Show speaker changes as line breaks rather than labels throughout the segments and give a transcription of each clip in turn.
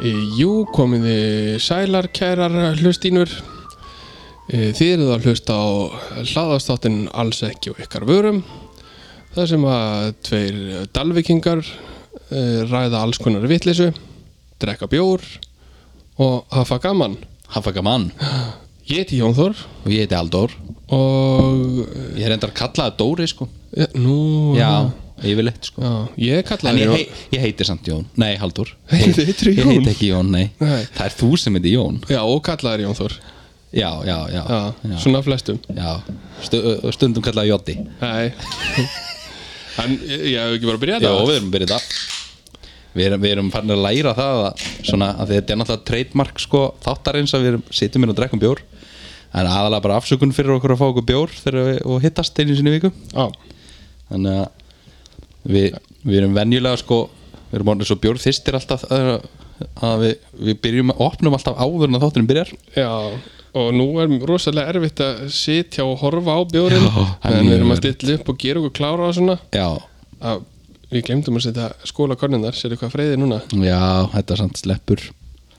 E, Jú, komið þið sælar, kærar hlustínur. E, Þið eruð að hlusta á hlaðastáttin alls ekki og ykkar vörum. Það sem að tveir dalvikingar e, ræða alls konar vitleysu, drekka bjór og hafa gaman.
Hafaka mann
Ég heiti Jón Þór
og ég heiti Aldór
og...
Ég er endar að kalla það Dóri sko
Ja, nú...
Já, yfirleitt sko
Já, ég
En
kallaði
ég,
Jón.
hei, ég heiti samt Jón, nei Haldur
Hei, þið heitir
Ég
Jón.
heiti ekki Jón, nei.
Nei.
Það er þú sem heiti Jón
Já, og kallaði Jón Þór.
Já, já, já,
Já,
já.
svona flestum.
já. Stu, ö, Stundum kallaði Jótti
Nei. En ég ég hef ekki bara byrjað
Já,
það.
við erum byrjuð það Við erum, við erum farin að læra það að, svona, að þetta er náttúrulega trademark sko, þáttarins að við erum, sitjum inn og drekkum bjór en aðalega bara afsökun fyrir okkur að fá okkur bjór þegar við, og hittast einu sinni í viku
Já.
þannig að við, við erum venjulega sko við erum orðin svo bjórþistir alltaf að, að við, við byrjum að opnum alltaf áður en að þátturinn byrjar
Já, og nú er rosalega erfitt að sitja og horfa á bjórin
Já, það er
en við
mjög
erum að
erfitt.
stilla upp og gera okkur klára og svona
já,
að við glemdum að setja skólakorninnar sér eitthvað freyði núna
já, þetta er samt sleppur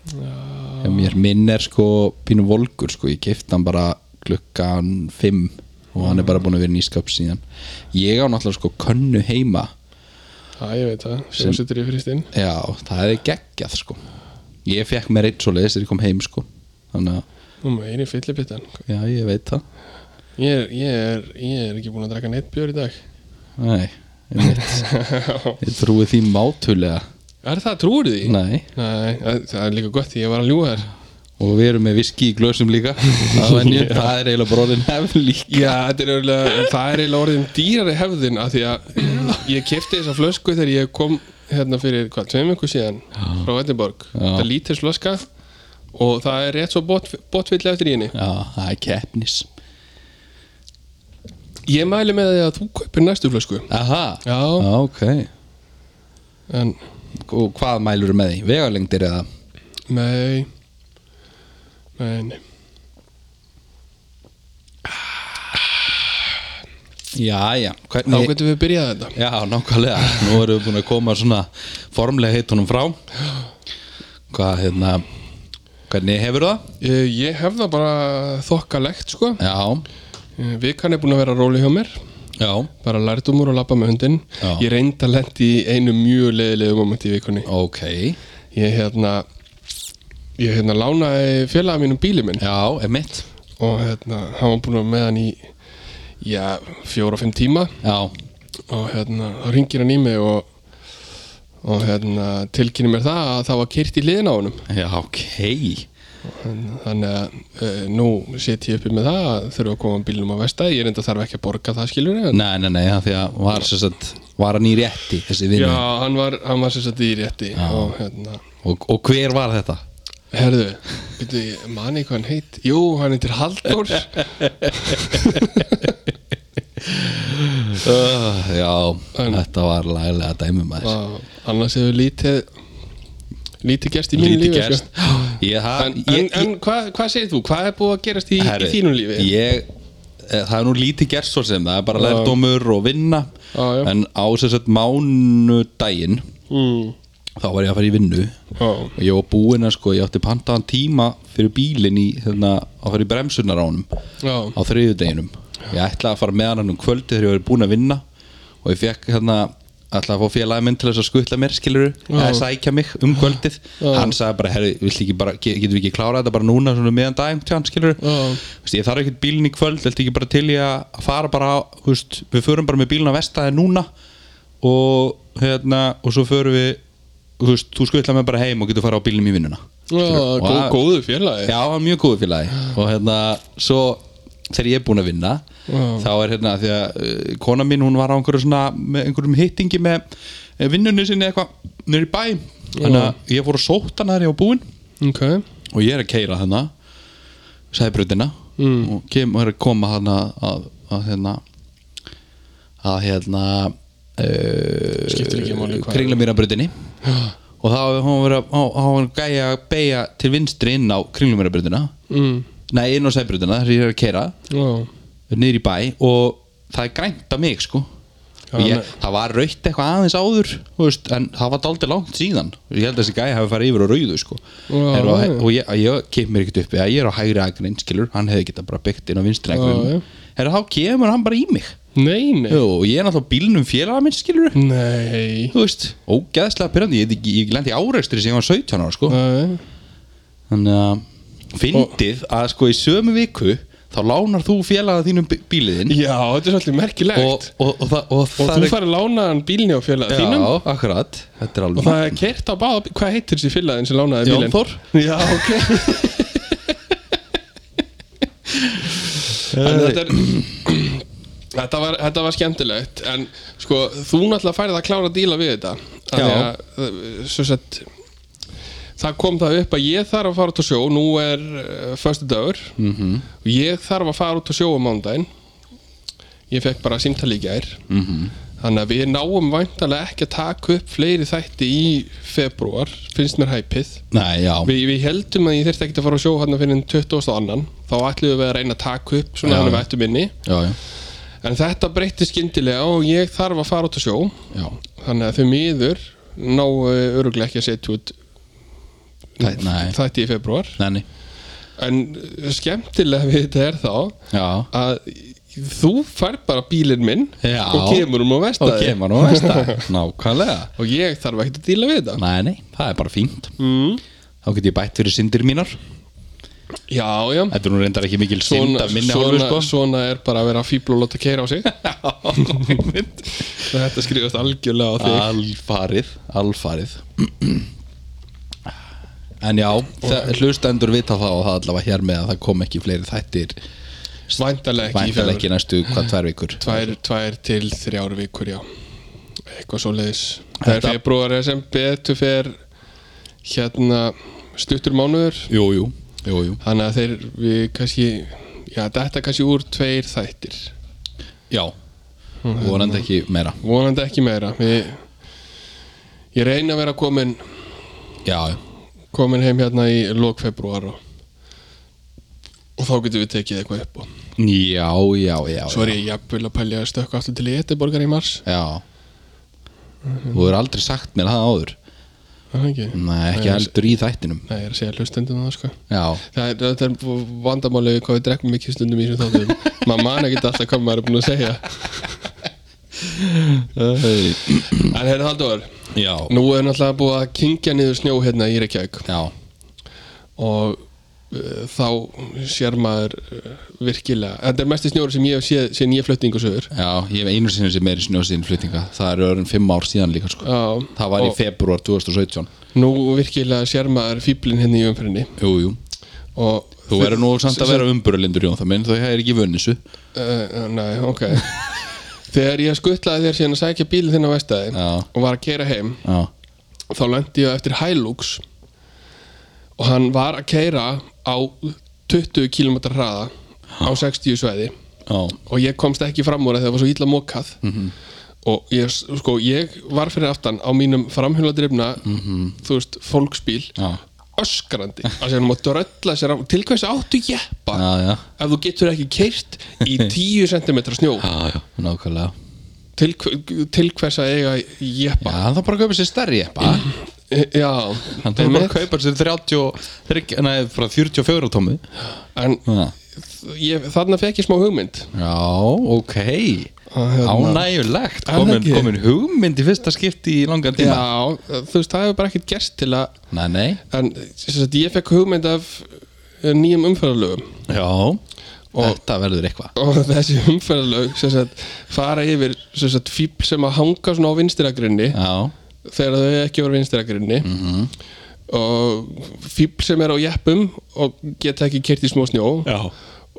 já. mér minn er sko pínu volkur sko, ég kefti hann bara klukkan 5 og hann er bara búin að vera í nýskap síðan ég á náttúrulega sko könnu heima
Já, ég veit það, sem setur í fristinn
já, það er geggjað sko ég fekk mér eitt svo leiðis þegar ég kom heim sko þannig að,
Nú meiri fyllipittan
já, ég veit það
ég er, ég, er, ég er ekki búin að draka neitt bjór í dag
Nei, einmitt Ég trúi því mátulega
Er það trúir því?
Nei
Nei, það það er líka gott því ég var að ljúga þér
Og við erum með viski í glösum líka Það er nýtt, það er eiginlega bróðin hef líka
Já, þetta er eiginlega, það er eiginlega orðin dýrari hefðin af því að ég kefti þessa flösku þegar ég kom hérna fyrir, hvað, tveim ykkur síðan frá Vettinborg,
Já.
þetta er lítil flöska og það er rétt svo bot, botvill eftir í henni.
Já, það er keppnis
Ég mæli með því að þú kaupir næstu flösku
Aha
Já,
Já, ok
en
Og hvað mælur með því? Vegalengdir eða?
nei nei, nei,
Já, já
þá
Hvernig
getum við byrjað þetta
Já, nákvæmlega Nú erum við búin að koma svona formlega heitunum frá Hvað, hérna Hvernig hefur það?
Ég, Eh, ég hef það bara þokkalegt, sko
Já
Eh, Vikan er búin að vera róli hjá mér
Já
bara lærdumur og lappa með hundin
Já.
ég reyndi að lendi í einu mjög leiðilegu moment í vikunni
Ok
ég hérna ég hérna lánaði félaga mínum bíli minn
Já, emitt
og hérna hann var búin að vera með hann í já, fjóra-fimm tíma
Já
og hérna þá ringir hann í mig og og hérna tilkynni mér það að það var kyrt í liðin á honum
Já, ok
En þannig að e, nú set ég uppi með það að þurfa að koma bílnum á vestæði ég reynda þarf ekki að borga það skilur en
Nei, nei, nei, það því að var, sem sagt, var hann í rétti þessi vinnu
já, hann var, hann var sem sagt í rétti og hérna
og, og hver var þetta?
Herðu, byrju, ég man ekki hvað hann heit Jú, hann heitir Halldór
Uh, já,
En-
þetta var laglega dæmum að
Vá, Annars hefur lítið Lítið gerst í mínu
Líti
lífi
gerst
sko.
Ég, það,
En, en,
ég,
en hvað, hvað segir þú? Hvað er búið að gerast í,
herri,
í þínu lífi?
Ég, eh, það er nú lítið gerst svo sem það er bara
Já.
lærdómur og vinna
Já, já.
en á þess að mánudaginn
mm,
þá var ég að fara í vinnu
á,
og ég var búinn að sko, ég átti pantaðan tíma fyrir bílinn í, hérna, að fara í bremsunar á honum
á,
á þriðjudeginum ég ætlaði að fara með hann um kvöldi þegar ég var búinn að vinna og ég fekk hérna ætlaði að fá félagi minn til þess að skutla mér skilur eða sækja mig um kvöldið hann sagði bara, herri, viltu ekki bara ge- getum við ekki klárað þetta bara núna svona meðan daginn til hann skilur
Já.
Vist, ég þarf ekkert bílinn í kvöld viltu ekki bara til ég að fara bara á- þú veist, við förum bara með bílinn á vestæði núna og hérna og svo förum við þú, veist, þú skutla mér bara heim og getur fara á bílinn í vinnuna
á,
Og
gó,
að-
Góðu félagi
Já, hann er mjög góðu félagi og hérna, svo þegar ég er búinn að vinna þá er hérna, því að uh, kona mín, hún var á einhverju svona, með einhverjum hittingi með eh, vinnunni sinni eitthvað, nýr í bæ þannig að ég fór að sóta hann þegar ég var búinn
Ok,
og ég er að keira þarna sæðbrutina mm. og kem, og er að koma þarna að, að hérna að hérna
Skiptir ekki máli hvað-
kringla mér að brutinni og þá hefur hún verið að þá- þá hefur hún gæja að beigja til vinstri inn á kringla mér að brutina
mm,
nei inn á sæðbrutina þar sem ég er að keira
á,
niður í bæ og það er grænt að mig sko Og ég, það var raukt eitthvað aðeins áður þú veist, en það var daldið langt síðan ég held að þessi gæði hafi farið yfir á rauðu sko.
Já,
en, og,
já.
og ég, ég kemur mér ekkert upp eða ég er á hægri agnin, skilur, hann hefði getað bara byggt inn á vinstri
Já, já.
agnin herra þá kemur hann bara í mig
Nei, nei
Jú, og ég er náttúrulega á bílnum félaga minn, skilur
Nei
þú veist, ógeðslega pyrrandi ég, ég, ég lendi áreistri sem ég var 17 ára sko.
Nei.
þannig að fyndið að sko í sömu viku þá lánar þú félaga þínum bí- bíliðinn
Já, þetta er svolítið merkilegt
og,
Og,
og, og, það- og, það
þú
er-
færi lánaðan bílni á félag þínum
Já, akkurat, þetta er
Og
alveg
það er kert á báða bí- Hvað heitir þessi félagin sem lánaði
Jón
bílinn?
Þór.
Já, ok En þetta er Þetta var, þetta var skemmtilegt en sko þú náttúrulega færið að klára að díla við þetta Af því
Já.
að, uh, svo sett, það kom það upp að ég þarf að fara út á sjó nú er uh, förstu dagur -hmm.
Mhm,
og ég þarf að fara út á sjó á mándaginn ég fekk bara símtali í gær -hmm.
mhm.
þannig að við náum væntalega ekki að taka upp fleiri þætti í februar finnst mér hæpið
Nei, já,
Við, við heldum að ég þyrfti ekkert að fara á sjó hérna fyrir 20. annan þá ætlum við að reyna að taka upp svona
Já.
þannig við ættum inni
já, já,
en þetta breytti skyndilega og ég þarf að fara út á sjó
já.
þannig að þau miður ná öruglega ekki að setja út
Þæ- nei.
þætti í februar
Nenni
en skemmtilega við þetta er þá
Já,
að þú fær bara bílinn minn
Já.
og kemur um á
og
vestaði
kemur nú veist það Nákvæmlega
og ég þarf ekkert að díla við þetta
Nei, nei, það er bara fínt
mm.
Þá get ég bætt fyrir syndir mínar
já, já
Þetta er nú reyndar ekki mikil synd
svona,
af minni hálfu
svona,
sko.
svona er bara að vera fíbl og láta keira á sig þetta skrifast algjörlega á þig
Alfarið, alfarið En já, það- hlustendur vita það og það allavega hér með að það kom ekki fleiri þættir
væntalega ekki í
Væntalega
februar.
ekki næstu hvað tvær vikur
tvær, tvær til þrjár vikur já eitthvað svo leiðis það er
Þetta-
februar sem betur fer hérna stuttur mánuður
Jú, jú, jú, jú
þannig að þeir við kannski já þetta kannski úr tveir þættir
Já, vonandi ekki meira
vonandi ekki meira við, ég reyna að vera komin
Já, já
komin heim hérna í lók februar og, og þá getum við tekið eitthvað upp og
Já, já, já
svo er ég jafnvel að pælja að stökka aftur til Eteborgar í mars
já. já Þú hefur aldrei sagt mér það áður
Er það ekki?
Nei, ekki
ég-
heldur í þættinum
Nei, ég er að segja hlustendum það sko
Já,
Það er, þetta er vandamálið við hvað við drekkum mikið stundum í þessum þáttum maður man ekki alltaf hvað maður er búin að segja En heyrðu Halldór,
já,
nú er náttúrulega búið að kingja niður snjó hérna í Reykjavík
já
og uh, þá sér maður uh, virkilega, þetta er mesti snjóri sem ég hef séð síðan ég flutti yngur sögur
Já, ég hef einu sinni sem er í snjósiðin flutninga Það eru öðrum fimm ár síðan líka sko.
Já,
Það var í
og
februar 2017
Nú virkilega sér maður fíblin hérna í umfyrinni
Jú, jú
og
Þú verður nú samt að vera umburulindur Jón Það minn þau er ekki vunnisu
Uh, nei, ok Þegar ég skuttlaði þér síðan að sækja bílinn þinn á vestæði
Já.
og var að keira heim
Já,
þá lendi ég eftir Hilux og hann var að keira á 20 km hraða á 60 sveiði
já,
og ég komst ekki fram úr af því að það var svo illa mokað
Mhm.
og ég, sko, ég var fyrir aftan á mínum framhjóladrifna
Mhm.
þú veist, fólksbíl
já,
öskrandi að sér hann má drölla sér á til hvers áttu jeppa
já, já.
ef þú getur ekki keirt í 10 cm snjó
Já, já, nákvæmlega
til, hver- til hvers að eiga
Já,
jeppa
hann þarf bara að kaupa sér stærri eppa
já,
Hann þarf bara
einmitt.
að kaupa sér 30, og- þriggja- nei, frá 44 tómi
en
Já,
ég, þarna fekk ég smá hugmynd
já ok
Að hérna-
Ánægjulegt
Er það
komin,
ekki?
komin hugmynd í fyrsta skipti í langan tíma
já, Eh, þú veist, það hefur bara ekkert gerst til að
Nei, nei
en sem sagt, ég fekk hugmynd af eh, nýjum umferðarlögum
Já, þetta verður eitthvað
og þessi umferðarlög sem sagt, fara yfir sem sagt, fíbl sem að hanga svona á vinstiragrunni
Já,
þegar þau ekki voru vinstiragrunni mm og fíbl sem er á jeppum og geta ekki kert í smó snjó
já,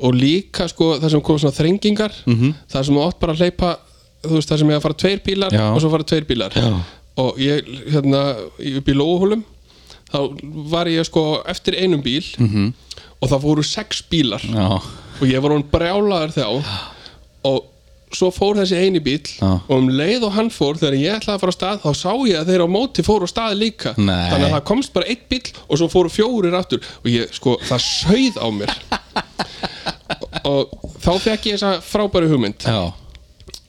og líka sko það sem kom svona þrengingar mm
Mhm.
-hmm. það sem þú átt bara að hleypa þú veist það sem ég að fara tveir bílar
Já.
og svo fara tveir bílar
Já.
og ég hérna upp í lóuhólum þá var ég sko eftir einum bíl
Mhm.
-hmm. og það fóru sex bílar
já,
og ég var hún brjálaður þá og svo fór þessi eini bíl
Já.
og um leið og hann fór þegar ég ætlaði að fara á stað þá sá ég að þeir á móti fóru á stað líka
Nei.
þannig að það komst bara einn bíl og svo fóru fjórir aftur og ég sko það sauð á mér og, og þá fekk ég þessa frábæru hugmynd
já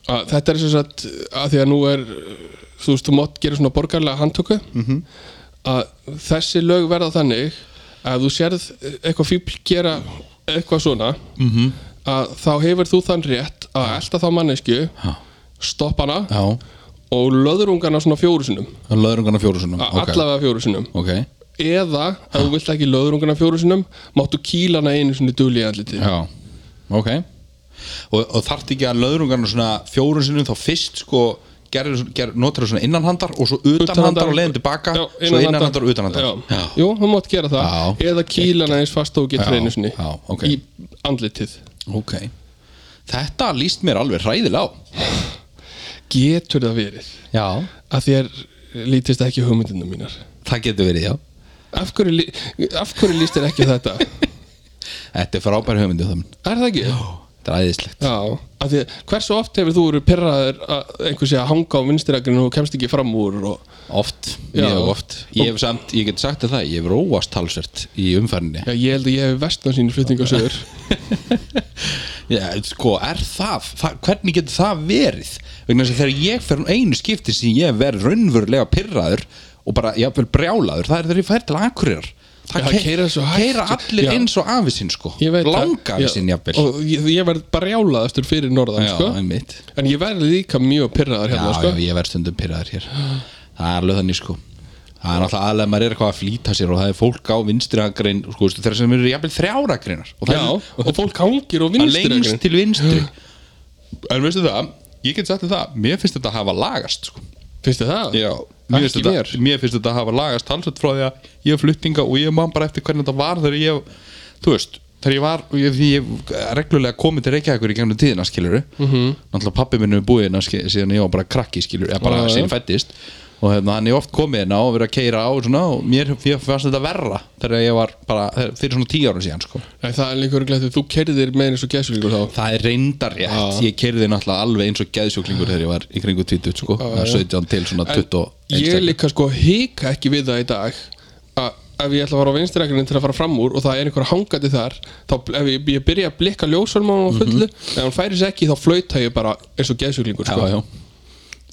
að þetta er sem sagt að því að nú er þú veist, þú mátt gera svona borgarlega handtöku að þessi lög verða þannig að þú sérð eitthvað fíbl gera eitthvað svona -hmm. að þá hefur þú þann rétt að elta þá mannesku
Já.
stoppa hana
Já,
og löðrungana svona fjóru sinnum
og löðrungana fjóru sinum
okay. allavega fjóru sinnum
Ok,
eða ef þú vilt ekki löðrungana fjóru sinnum máttu kýla hana einu svona duli í andliti
já, ok Og, og þarft ekki að löðrungana svona fjóru sinum þá fyrst sko gerir, ger, notar svona innanhandar og svo utanhandar og leiðin tilbaka
Já,
svo innanhandar og utanhandar
já. Jú, þú mátt gera það
Já.
eða kýla hana eins fast og þú getur
Já,
einu sinni
já, ok.
í andlitið
Ok Þetta líst mér alveg hræðilega á
getur það verið
Já
að þér lítist ekki hugmyndinu mínar
Það getur verið, já
af hverju, lí- af hverju líst þér ekki þetta
Þetta er frábær hugmyndi það minn
er það ekki?
Þetta er æðislegt
Já, af því að hversu oft hefur þú verið pirraður að einhver sé að hanga á vinstiragrinu og kemst ekki fram úr og
Oft,
Já.
mjög oft Ég hef samt, ég get sagt þér það Ég hef róast talsvert í umferðinni
já, ég held að ég hef vestnað sínu flutningasöður
Já, sko, er það, það Hvernig getur það verið? Vegna þess að þegar ég fer um einu skipti sem ég hef verið raunverulega pirraður og bara, jafnvel brjálaður það er þegar ég fær til Akureyrar
Já,
key-
keyra svo hægt.
keyra allir
Já.
eins og afisinn sko
Ég veit það.
langa afisinn
Já,
jafnvel
Og ég, ég verð bara jálaðastur fyrir norðan,
Já,
sko
einmitt
En ég verð líka mjög pirraðar
Já,
hérna, sko
já, ég verð stundum pyrraður hér Það er alveg þannig sko Það er náttúrulega aðlega maður er eitthvað að flýta sér og það er fólk á vinstri agrein sko, veistu, þegar sem eru jafnvel þrjára greinar og það
Já,
er-
og fólk hangir á
það er lengst
vinstiragrinu
til vinstri En veistu það, ég get sagt þér það Mér finnst þetta að hafa lagast sko.
Finnst þið það?
Já, mér finnst,
Ekki mér.
þetta, mér finnst þetta að hafa lagast talsveit frá því að ég hef flutninga og ég man bara eftir hvernig þetta var þegar ég þú veist, þegar ég var ég, því ég reglulega komið til Reykjavíkur í gegnum tíðina skiluru,
Mhm.
-hmm. náttúrulega pappi minn er búið hérna ski- síðan ég var bara krakki skiluru eða bara
Já, já.
síðan fættist og hefna, hann er oft komið hérna og verið að keira á og svona, og mér ég fannst þetta verra þegar ég var bara, þegar- fyrir svona tíu árum síðan sko.
Nei, það er líka örglega þegar þú kerðir meira eins og gæsulíkur þá
það er reyndar rétt,
Já.
ég keirði náttúrulega alveg eins og geðsjúklingur þegar ég var í kringu 20 sko,
já.
17 til svona
En
21
Ég
stækja.
líka sko hika ekki við það í dag að ef ég ætla að fara á vinstiragrinu til að fara fram úr og það er einhver hangandi þar þá bl- ef ég, ég byrja að blikka ljósvölum á hann fullu ef hann færi sér ekki þá flauta ég bara eins og geðsuglingur sko.
Mhm. já, já.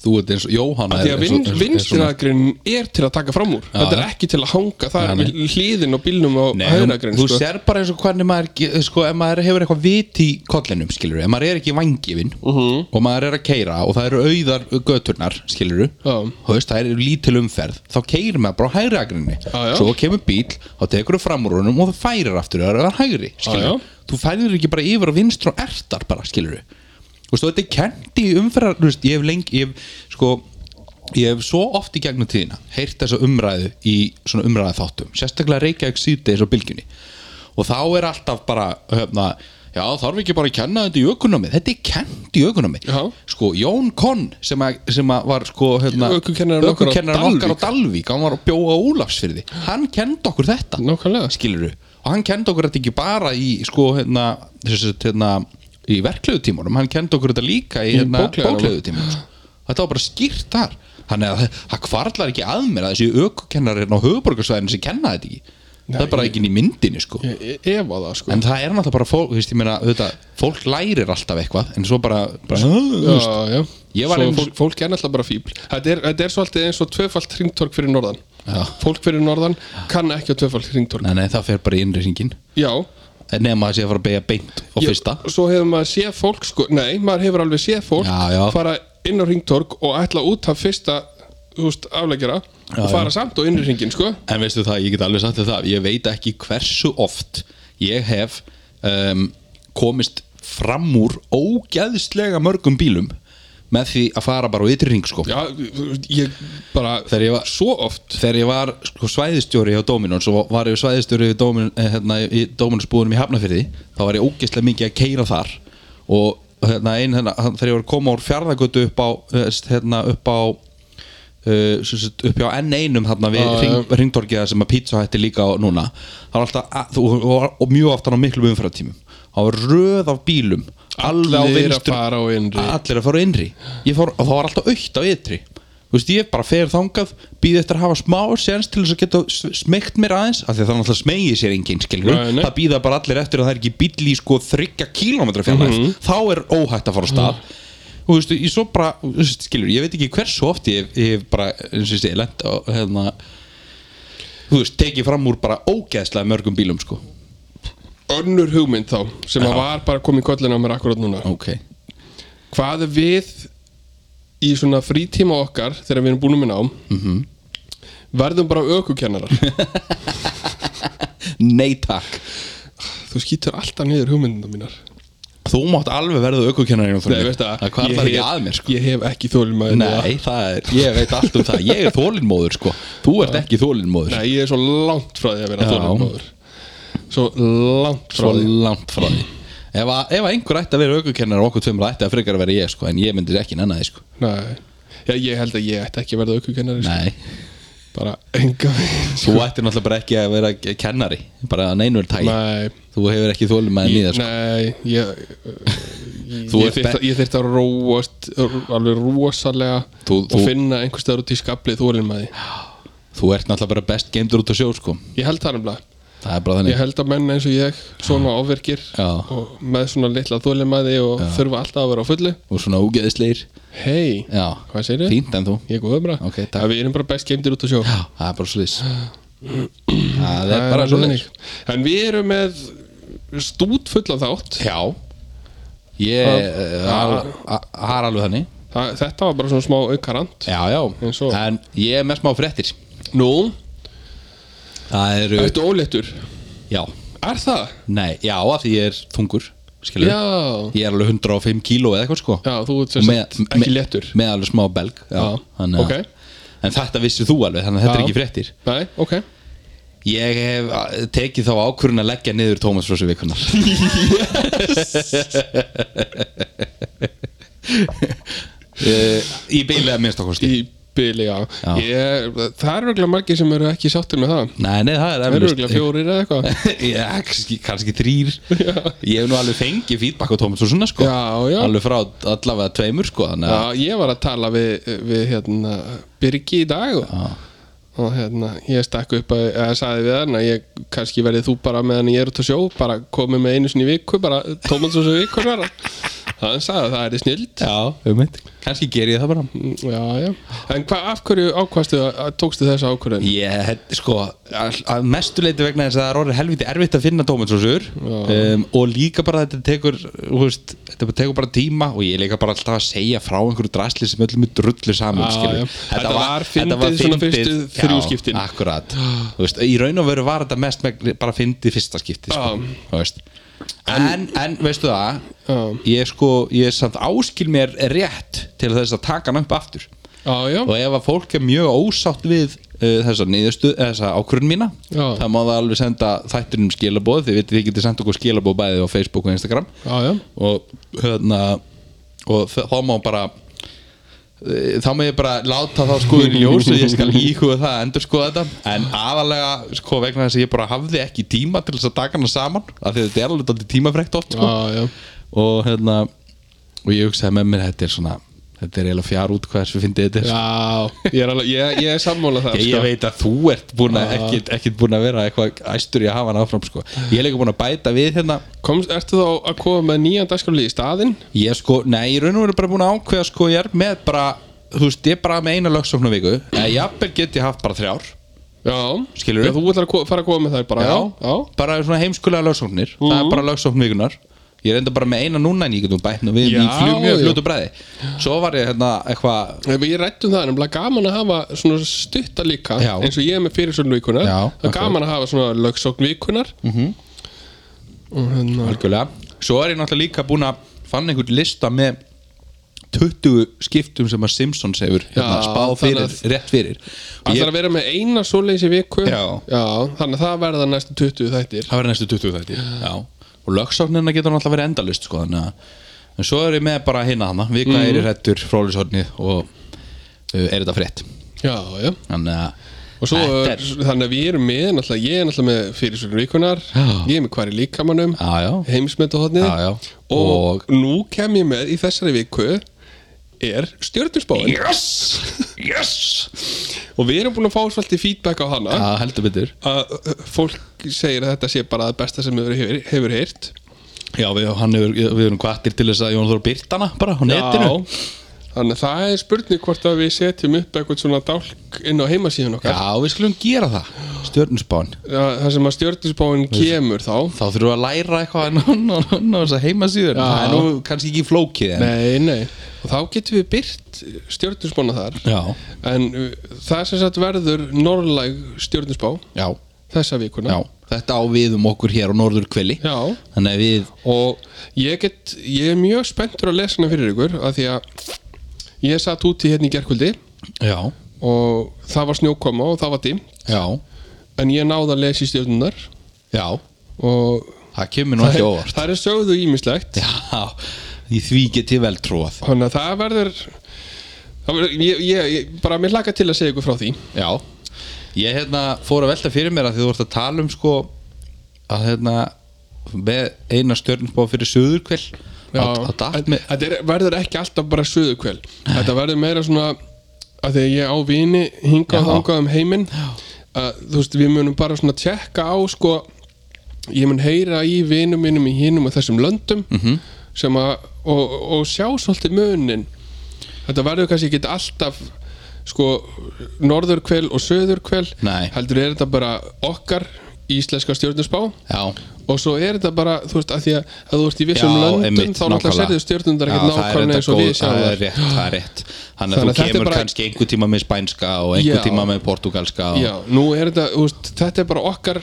þú ert eins og Jóhanna
því að vin, vinstiragrinn er til að taka fram úr þetta er
já.
ekki til að hanga það
Já,
er
nei.
við hliðin og bílnum á
Nei,
hæðinagrinn
þú
sko.
sér bara eins og hvernig maður ge- sko, ef maður hefur eitthvað vit í kollinum skilur, ef maður er ekki vangifinn
Mhm.
-huh. og maður er að keira og það eru auðar göturnar, skilur
Já.
veist, það eru lítil umferð, þá keir maður bara á hægri agrinni,
Já, já.
svo kemur bíl þá tekur þú fram úr honum og það færir aftur það er hægri,
Já,
skilur
já.
þú færir ekki bara yfir á vinstri og ertar bara, skilur þú veist, og þetta er kent í umferðar þú veist, ég hef lengi, ég hef, sko ég hef svo oft í gegnum tíðina heyrt þessa umræðu í svona umræða þáttum sérstaklega Reykjavík síðdeis og bylgjunni og þá er alltaf bara höfna, já þarf ekki bara að kenna þetta í ökunámi þetta er kent í ökunámi
Já.
sko Jón Konn sem, að, sem að var sko höfna,
Ökukennarinn okkar á
okkar á Dalvík hann var að bjóa Úlafsfyrði hann kendi okkur þetta
Nákvæmlega.
skilur og hann kendi okkur þetta ekki bara í sko hérna, þessi, hérna í verklegutímunum, hann kendi okkur þetta líka í,
Í
hérna,
bókleganum.
bóklegutímunum þetta var bara skýrt þar þannig að það- það kvarlar ekki að mér að þessi ökukennarin á höfuborgarsvæðinu sem kenna þetta ekki það er bara ekki inn í myndinni sko
Ég- ég- Ef að það sko
en það er náttúrulega bara fólk, þú veist, ég meina, auðvitað, fólk lærir alltaf eitthvað en svo bara, bara þú veist,
Já, já.
Ég var
Svo
eins-
fólk, fólk er náttúrulega bara fíbl Þetta er, þetta er svolítið eins og tvöfalt hringtork fyrir norðan
Já.
Fólk fyrir norðan kann ekki á tvöfalt hringtork
nei, nei, það fer bara í innreysingin
Já,
nema að sé að fara að beigja beint á
Já,
fyrsta
Svo hefur maður séð fólk sko, Nei, maður hefur alveg séð fólk
Já, já.
fara inn á ringtorg og ætla út af fyrsta þú veist, afleggjara og fara samt á innri ringin sko.
En veistu það, ég get alveg sagt þér það Ég veit ekki hversu oft Ég hef um, komist fram úr ógæðslega mörgum bílum með því að fara bara á ytri ring sko.
Já, þú veist, ég bara
Þegar ég var-
svo oft
Þegar ég var sko, svæðistjóri hjá Dominons og var ég svæðistjóri hjá Domin, eh, hérna, í Dominonsbúðunum í Hafnafyrði þá var ég ógæðslega mikið að keira þar og hérna, ein, hérna, hann- þegar ég var að koma úr fjarðagötu upp á eh, hérna, upp á Uh, sem sagt, upp hjá N1 þarna við
Já,
hring, ringdorgiða sem að pizza hætti líka á núna það var alltaf, að, og, og, og mjög aftan á miklum umfæratímum það var röð af bílum alveg á
Allir að
vinstri
fara á innri.
allir að fara á innri Ég fór, og það var alltaf aukt á ytri Þú veist, ég bara fer þangað býð eftir að hafa smá séns til þess að geta s- smeygt mér aðeins, af því að það náttúrulega smegi sér enginn, skilur,
Nei, nei.
það býða
Mhm.
bara allir eftir að það er ekki bíll í sko þryggja kílómetra fjarlægð þá er óhætt að fara á stað og þú veist, ég svo bara, þú veist, skilur ég veit ekki hversu oft ég, ég hef bara þú veist, ég lent á, hérna þú veist, tekið fram úr bara ógeðslega mörgum bílum, sko
önnur hugmynd þá sem að var bara komið í kollin á mér akkurat núna
ok,
hvað við í svona frítíma okkar þegar við erum búin með nám
Mhm.
verðum bara ökukennarar
nei takk
þú skýtur alltaf niður hugmyndina mínar
þú mátt alveg verða aukvökennari
Nei, veistu það,
hvað
ég
er það ekki
hef-
að mér, sko
Ég hef ekki þólimæði
Nei, það er, ég veit allt um það Ég er þólinmóður sko, þú ert ekki þólinmóður
Nei, ég er svo langt frá því að vera
Já.
þólimæður Svo langt frá
Svo
því
langt frá því Ef, að, ef að einhver ætti að vera aukukennar og okkur tveimur ætti að frekar að vera ég sko En ég myndir ekki nanna því sko
Nei Já, ég held að ég ætti ekki að verða aukukennari sko.
Nei,
Bara enga veginn sko.
þú ættir náttúrulega bara ekki að vera kennari Bara að neinur tægi
Nei,
Þú hefur ekki þólinmæðin í það sko
nei Ég,
Þú
ég,
ert
þyrfti,
be-
að- ég þyrfti að róast Alveg rosalega
Þú-
Og
þú-
finna einhvers staðar út í skabli þólimæði
Þú ert náttúrulega bara best geimdur út á sjó sko
Ég held það nefnilega
Það er bara
Ég
þannig
held að menn eins og ég, svona ofverkir
Já.
og með svona litla þólimæði og þurfa alltaf að vera á fullu
Og svona ógeðisleir
Hei,
Já,
hvað segirðu?
fínt en þú
Ég er góður bara
Ok, takk.
ja, Við erum bara best geimdir út á sjó
Já, það er bara svo Það er
Það
bara
alveg
svo
þannig. En við erum með stút fulla þátt
Já Ég eh, það er a- það er alveg þannig
Þa, Þetta var bara svona smá aukarant
Já, já,
Eins og-
en ég er með smá fréttir
Nú,
Það eru,
ertu óléttur
já,
Er það?
nei, já, af því ég er þungur skilur,
Já
ég er alveg 105 kíló eða eitthvað sko
Já, þú ert
Og
sem sagt ekki léttur
með alveg smá belg já,
Já,
þannig að-
ok.
En þetta vissir þú alveg, þannig að
Já.
þetta er ekki fréttir
Nei, ok
Ég hef a- tekið þá ákvörun að leggja niður Tómas Rósu vikunar Yes Eh, Í bílega minnst okkur
Í byli, já,
Já.
Ég, Það eru örugglega margir sem eru ekki sáttir með það
Nei, nei, það er
Það eru
eflaust-
örugglega fjórir eða eitthvað
Já, kannski, kannski þrýr Ég hef nú alveg fengið feedback á Tómas og svona sko
Já, já.
Alveg frá allavega tveimur sko Þannig að
Já, ég var að tala við, við hérna, Birgi í dag og, og hérna, ég stakk upp að, að sagði við hann að ég kannski verið þú bara meðan ég er út að sjó, bara komið með einu sinni í viku, bara tómans og svo viku hann sagði að það er snild
Já, ummynd Kannski ger ég það bara
Já, já, en hvað, af hverju ákvastu að, að tókstu þessa ákvörðin?
Ég, þetta, sko, að að mestu leiti vegna þess að það er orðið helviti erfitt að finna Tómas og Sör um, og líka bara þetta tekur, þú veist, þetta bara tekur bara tíma og ég er líka bara alltaf að segja frá einhverju drasli sem öllum er drullu saman,
Já,
skilur.
já. Þetta var fyndið svona fyrstu þrjú skiptin.
Já, akkurat. Þú veist, í raun og veru var þetta mest megn, bara fyndið fyrsta skipti, sko,
Já.
þú veist. En, en, veistu það,
Já.
ég sko, ég samt áskil mér rétt til þess að taka hann upp aftur
Já, já,
og ef að fólk er mjög ósátt við uh, þessa, niðurstöð- eh, þessa ákvörðun mína
Já.
það má það alveg senda þættunum skilaboð þið vitið þið getið sendt okkur skilaboð bæði á Facebook og Instagram
já, já,
og, hérna, og þ- þá má bara eh, þá má ég bara láta þá skoðun í ljós og ég skal íhuga það að endur skoða þetta en aðalega sko vegna þess að ég bara hafði ekki tíma til þess að taka hana saman af því að þetta er alveg dálítið tímafrekt oft sko
já, já.
og hérna og ég hugsaði með mér þetta er svona þetta er eiginlega fjár út hvað þessu fyndið þetta er sko.
Já, ég er, alveg, ég, ég er sammála sko. það
Ég, ég veit að þú ert búin að
Ah.
ekkit, ekkit búin að vera eitthvað æstur í að hafa hann áfram sko. Ég er líka búin að bæta við hérna
Komst, Ertu þá að koma með nýjan dagskrálið í staðinn?
Ég sko, nei, ég raun og verið bara búin að ákveða sko, ég er með bara, þú veist, ég er bara með eina lögsofna viku, eða jafnvel get ég haft bara þrjár,
Já,
Skilurðu?
Já, Þú ætlar að ko- fara að koma með þær bara já. Mhm.
bara svona heimskulega lögsofnir það er bara lögsofn vikunar Ég er enda bara með eina núna en ég getum bætt nú við
Já,
í flug mjög
já.
fljótu bræði Svo var ég hérna eitthvað
Ef Við rættum það, er nefnilega gaman að hafa svona stutta líka,
Já.
eins og ég er með fyrirsögn vikunar,
Já, Mhm.
það er gaman að hafa svona lögsókn vikunar mm -hmm. og
Algjörlega. Svo er ég náttúrulega líka búinn að fann einhvern lista með 20 skiptum sem að Simpsons hefur
Já,
hérna, spáð
þannig
fyrir,
að-
rétt fyrir Og
hann
ég,
ætlar að vera með eina svoleiðis í viku
Já.
þannig að það verða næstu 20 þættir
það verður næstu 20 þætti Já. og lögsáknirna getur náttúrulega verið endalust sko, þannig að en svo er ég með bara hérna hana vika er í hrettur, frólisornið og uh, er þetta frétt
Já, já
þannig að
Og svo, er,
Þetta er,
þannig að við erum með, náttúrulega, ég er náttúrulega með fyrirsögn vikunar,
Já.
ég er með hvar í líkamannum,
Já, já.
heimsmyndahotnið
Já, já.
Og,
Og-
nú kem ég með í þessari viku er stjörnusbóin
yes, yes
og við erum búin að fá svolítið feedback á hana uh,
Já, heldur betur
að fólk segir að þetta sé bara það besta sem hefur, hefur, hefur heyrt
Já, við, hann hefur, við erum kvartir til þess að Jón Þór Byrtana bara á netinu
Já, þannig að það er spurning hvort að við setjum upp eitthvað svona dálk inn á heimasíðun
Já,
okkar
við skulum gera það Stjörnusbán
Já, það sem að stjórnusbáin kemur þá
Þá þurfum við að læra eitthvað inn á- inn á inn á þessa heimasíður
Já.
Það er nú kannski ekki flókið en...
Nei, nei, og þá getum við byrt stjórnusbána þar
Já,
en uh, það sem sagt verður norðlæg stjórnusbá
já,
þessa
já
vikuna
Þetta á við um okkur hér á norður kveli
Já.
Þannig að við
og ég get ég er mjög spenntur að lesa hana fyrir ykkur af því að ég satt úti hérna í gerkvöldi
Já,
og það var snjókoma og það var dim
já,
en ég náði að lesa í stjórnunar
já
og
Það kemur nú ekki óvart
það er sögðu ímislegt
Já, í því get ég vel trúað
þannig að það verður það verður, ég, ég, ég bara mér laka til að segja ykkur frá því
Já, ég hérna fór að velta fyrir mér að því þú vart að tala um sko að hérna með eina stjörnusbá fyrir söðurkvöld
Já,
að dætt
en-
með
þetta er, verður ekki alltaf bara suðukvel Þetta verður meira svona að því að ég á vini hingað og
Já.
hangað um heiminn að, þú veist, við munum bara svona tjekka á sko, ég mun heyra í vinum mínum í hinum og þessum löndum
Mhm.
-hmm. sem að og, og sjá svolítið munin Þetta verður kannski ekki alltaf sko, norðurkvel og söðurkvel
Nei.
heldur er þetta bara okkar íslenska stjórnusbá
Já,
og svo er þetta bara, þú veist, að því að ef þú ert í vissum
Já,
löndum,
einmitt,
þá náttúrulega
nákvæmlega.
serðu stjórnundar
Já,
ekkert
það er
nákvæmlega
þetta
eins og við
góð-
sjáum
það er
það.
rétt, það er rétt þannig að
Þannig að
þú
þetta er
kemur
bara-
kannski einhver tíma með spænska og einhver
Já.
tíma með portugalska og...
Já, nú er þetta, þú veist, þetta er bara okkar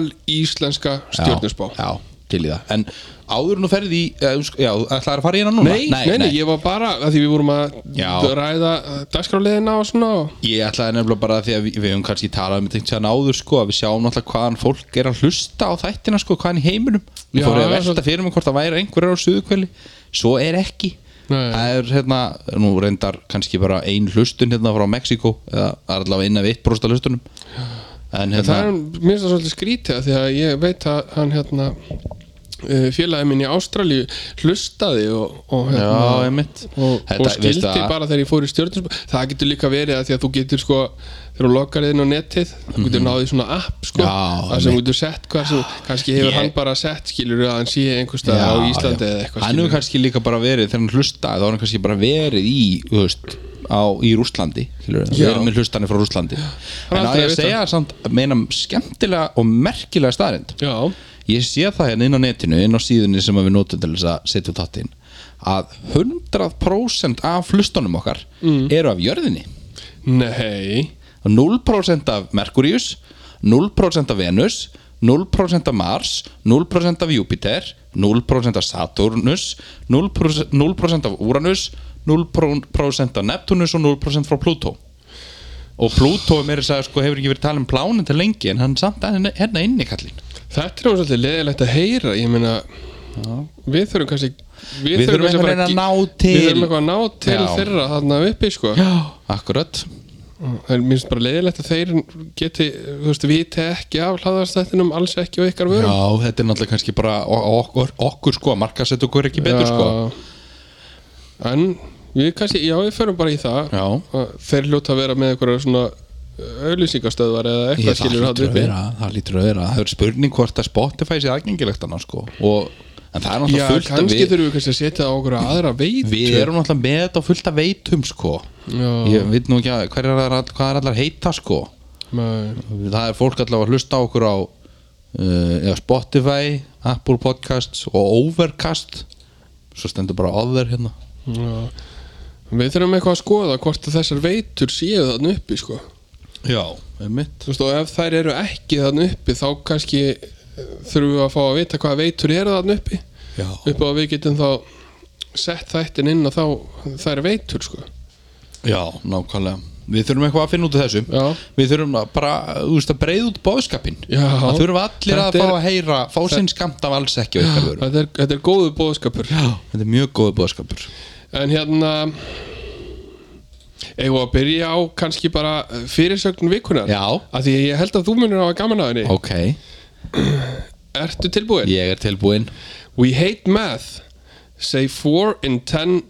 al-íslenska
Já,
stjórnusbá
já, til í það en áður nú ferði í eh, sko, já, ætlaði að fara í hérna núna
Nei, nei, nei, ég var bara, að því við vorum að
Já.
ræða dagskráleðina og svona og-
Ég ætlaði nefnilega bara að því að við, við höfum kannski talað um þetta hann áður sko að við sjáum náttúrulega hvaðan fólk er að hlusta á þættina sko hvaðan í heiminum og
Já,
fór ég að
svo-
velta fyrir mig hvort það væri einhverjar á suðukveli svo er ekki
Nei.
það er hérna, nú reyndar kannski bara ein hlustun hérna frá Mexiko eða það er allavega innan við eitt brosta hlustunum en hérna,
Það er mér það svolítið skrítið af því að ég veit að hann hérna eh, félagi minn í Ástralíu hlustaði og, og
já,
hérna
einmitt
og,
Þetta-
og skildi
veistu að-
bara þegar ég fór í stjórnum það getur líka verið að því að þú getur sko þegar þú loggar inn á netið þú getur náðið svona app sko
Mhm. Já, Ah,
það sem þú getur sett hvað sem kannski hefur
Ég-
hann bara sett skilur að hann sé einhverstað á Íslandi eða eitthvað
hann hefur
skilur
kannski líka bara verið þegar hann hlustaði þá var hann kannski bara verið í þú veist, á, í Rússlandi skilurðu,
Já.
verið með hlustanir frá Rússlandi
er
en á
aldrei að
ég að
vita.
segja samt meina skemmtilega og merkilega staðrind
já,
ég sé það hérna inn á netinu inn á síðunni sem að við notum til þess að setja út þáttinn að 100% af hlustunum okkar
Mm.
eru af jörðinni
nei
0% af Merkurius 0% af Venus 0% af Mars 0% af Júpiter 0% af Saturnus 0%, 0% af Uranus 0% af Neptunus og 0% frá Plútó og Plútó er meira að segja sko hefur ekki verið talað um plánin til lengi en hann samt að hérna inni kallinn
þetta er nú svolítið leðilegt að heyra ég meina við þurfum kannski
Við
kannski
þurfum eitthvað
bara
að
ge-
ná
við
til-
þurfum eitthvað að ná til
Já.
þeirra þarna uppi sko
Akkurat
það er minnst bara leðilegt að þeir geti þú veist, viti ekki af hlaðarstættinum alls ekki og ykkar vörum
Já, þetta er náttúrulega kannski bara o- okkur, okkur sko, markasett okkur ekki betur sko
Já. en við kannski, já við förum bara í það
Já,
þeir hljóta að vera með einhverja svona auðlýsingastöðvar eða
ég,
eitthvað
það
skilur
lítur að vera það lítur að vera, það er spurning hvort að Spotify sé aðgengilegt annars sko og, en það er
já
náttúrulega fullt að
kannski
við,
þurfum við kannski að setja á okkur aðra veit
við erum náttúrulega með þetta á fullt að veitum sko
já,
ég veit nú ekki að hver er, að- hvað er allar heita sko
með,
það er fólk allavega að hlusta á okkur á uh, já, Spotify, Apple Podcasts og Overcast svo stendur bara other hérna
já. við þurfum eitthvað að skoða hvort að þessar veitur séu þarna uppi sko
Já, einmitt
Þú veist, og ef þær eru ekki þarna uppi þá kannski eh, þurfum við að fá að vita hvaða veitur eru þarna uppi
Já,
upp á að við getum þá sett þættin inn og þá þær veitur sko
Já, nákvæmlega Við þurfum eitthvað að finna út af þessu
Já.
Við þurfum að bara, þú veist, að breyða út bóðskapin
Já.
Það þurfum allir
Þetta
að fá
er-
að heyra Fá sinn skamt af alls ekki á ykkar vörum
þetta er, þetta er góðu bóðskapur Já.
Þetta er mjög góð bóðskapur
en hérna eigum við að byrja á kannski bara eh, fyrirsögn vikunar
Já.
að því ég held að þú munir á að gaman að henni
Ok,
Ertu tilbúin?
ég er tilbúinn
We hate math say 4 in 10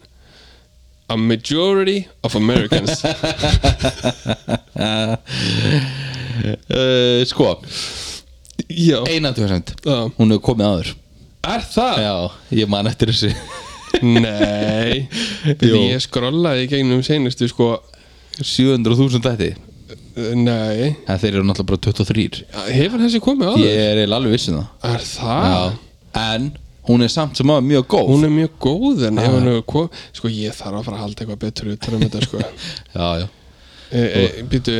a majority of Americans
uh, Sko,
Já,
eina tjóðsend
Já.
Hún hefur komið aður
Er það?
Já, ég man eftir þessu
Nei Jú. Ég skrollaði í gegnum seinustu sko
700.000 þetta
Nei
En þeir eru náttúrulega bara 23
Hefur þessi komið áður?
Ég er eiginlega alveg vissin það
Er það?
Já. En hún er samt sem aða mjög góð
Hún er mjög góð en ef hann hefur komið Sko ég þarf að fara að halda eitthvað betur út um þetta sko
Já, já
e, e, Býtu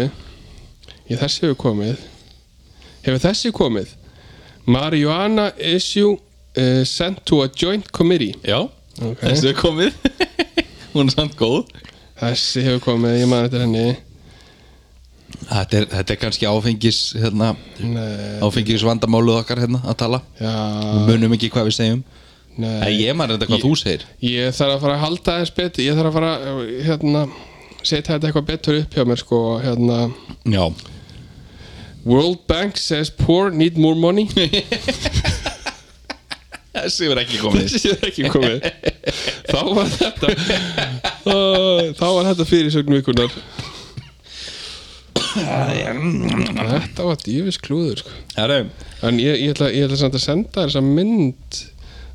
Ég þessi hefur komið Hefur þessi komið Marijuana issue uh, sent to a joint committee
Já,
Ok.
þessu er komið Hún er samt góð
Þessi hefur komið, ég maður þetta henni
Þetta er, þetta er kannski áfengis hérna,
Nei,
áfengis vandamáluð okkar hérna að tala
já,
Við munum ekki hvað við segjum En
nei
ég man þetta hvað þú segir
Ég þarf að fara að halda þess betur Ég þarf að fara að hérna, setja þetta eitthvað betur upp hjá mér sko, hérna.
Já
World Bank says poor need more money
Þessu er ekki komið
Þessi er ekki komið Þá var þetta Ó, Þá var þetta fyrirsögn vikunar Þetta var dýfis klúður sko.
Herru,
En ég, ég, ætla, ég ætla samt að senda þér þessa mynd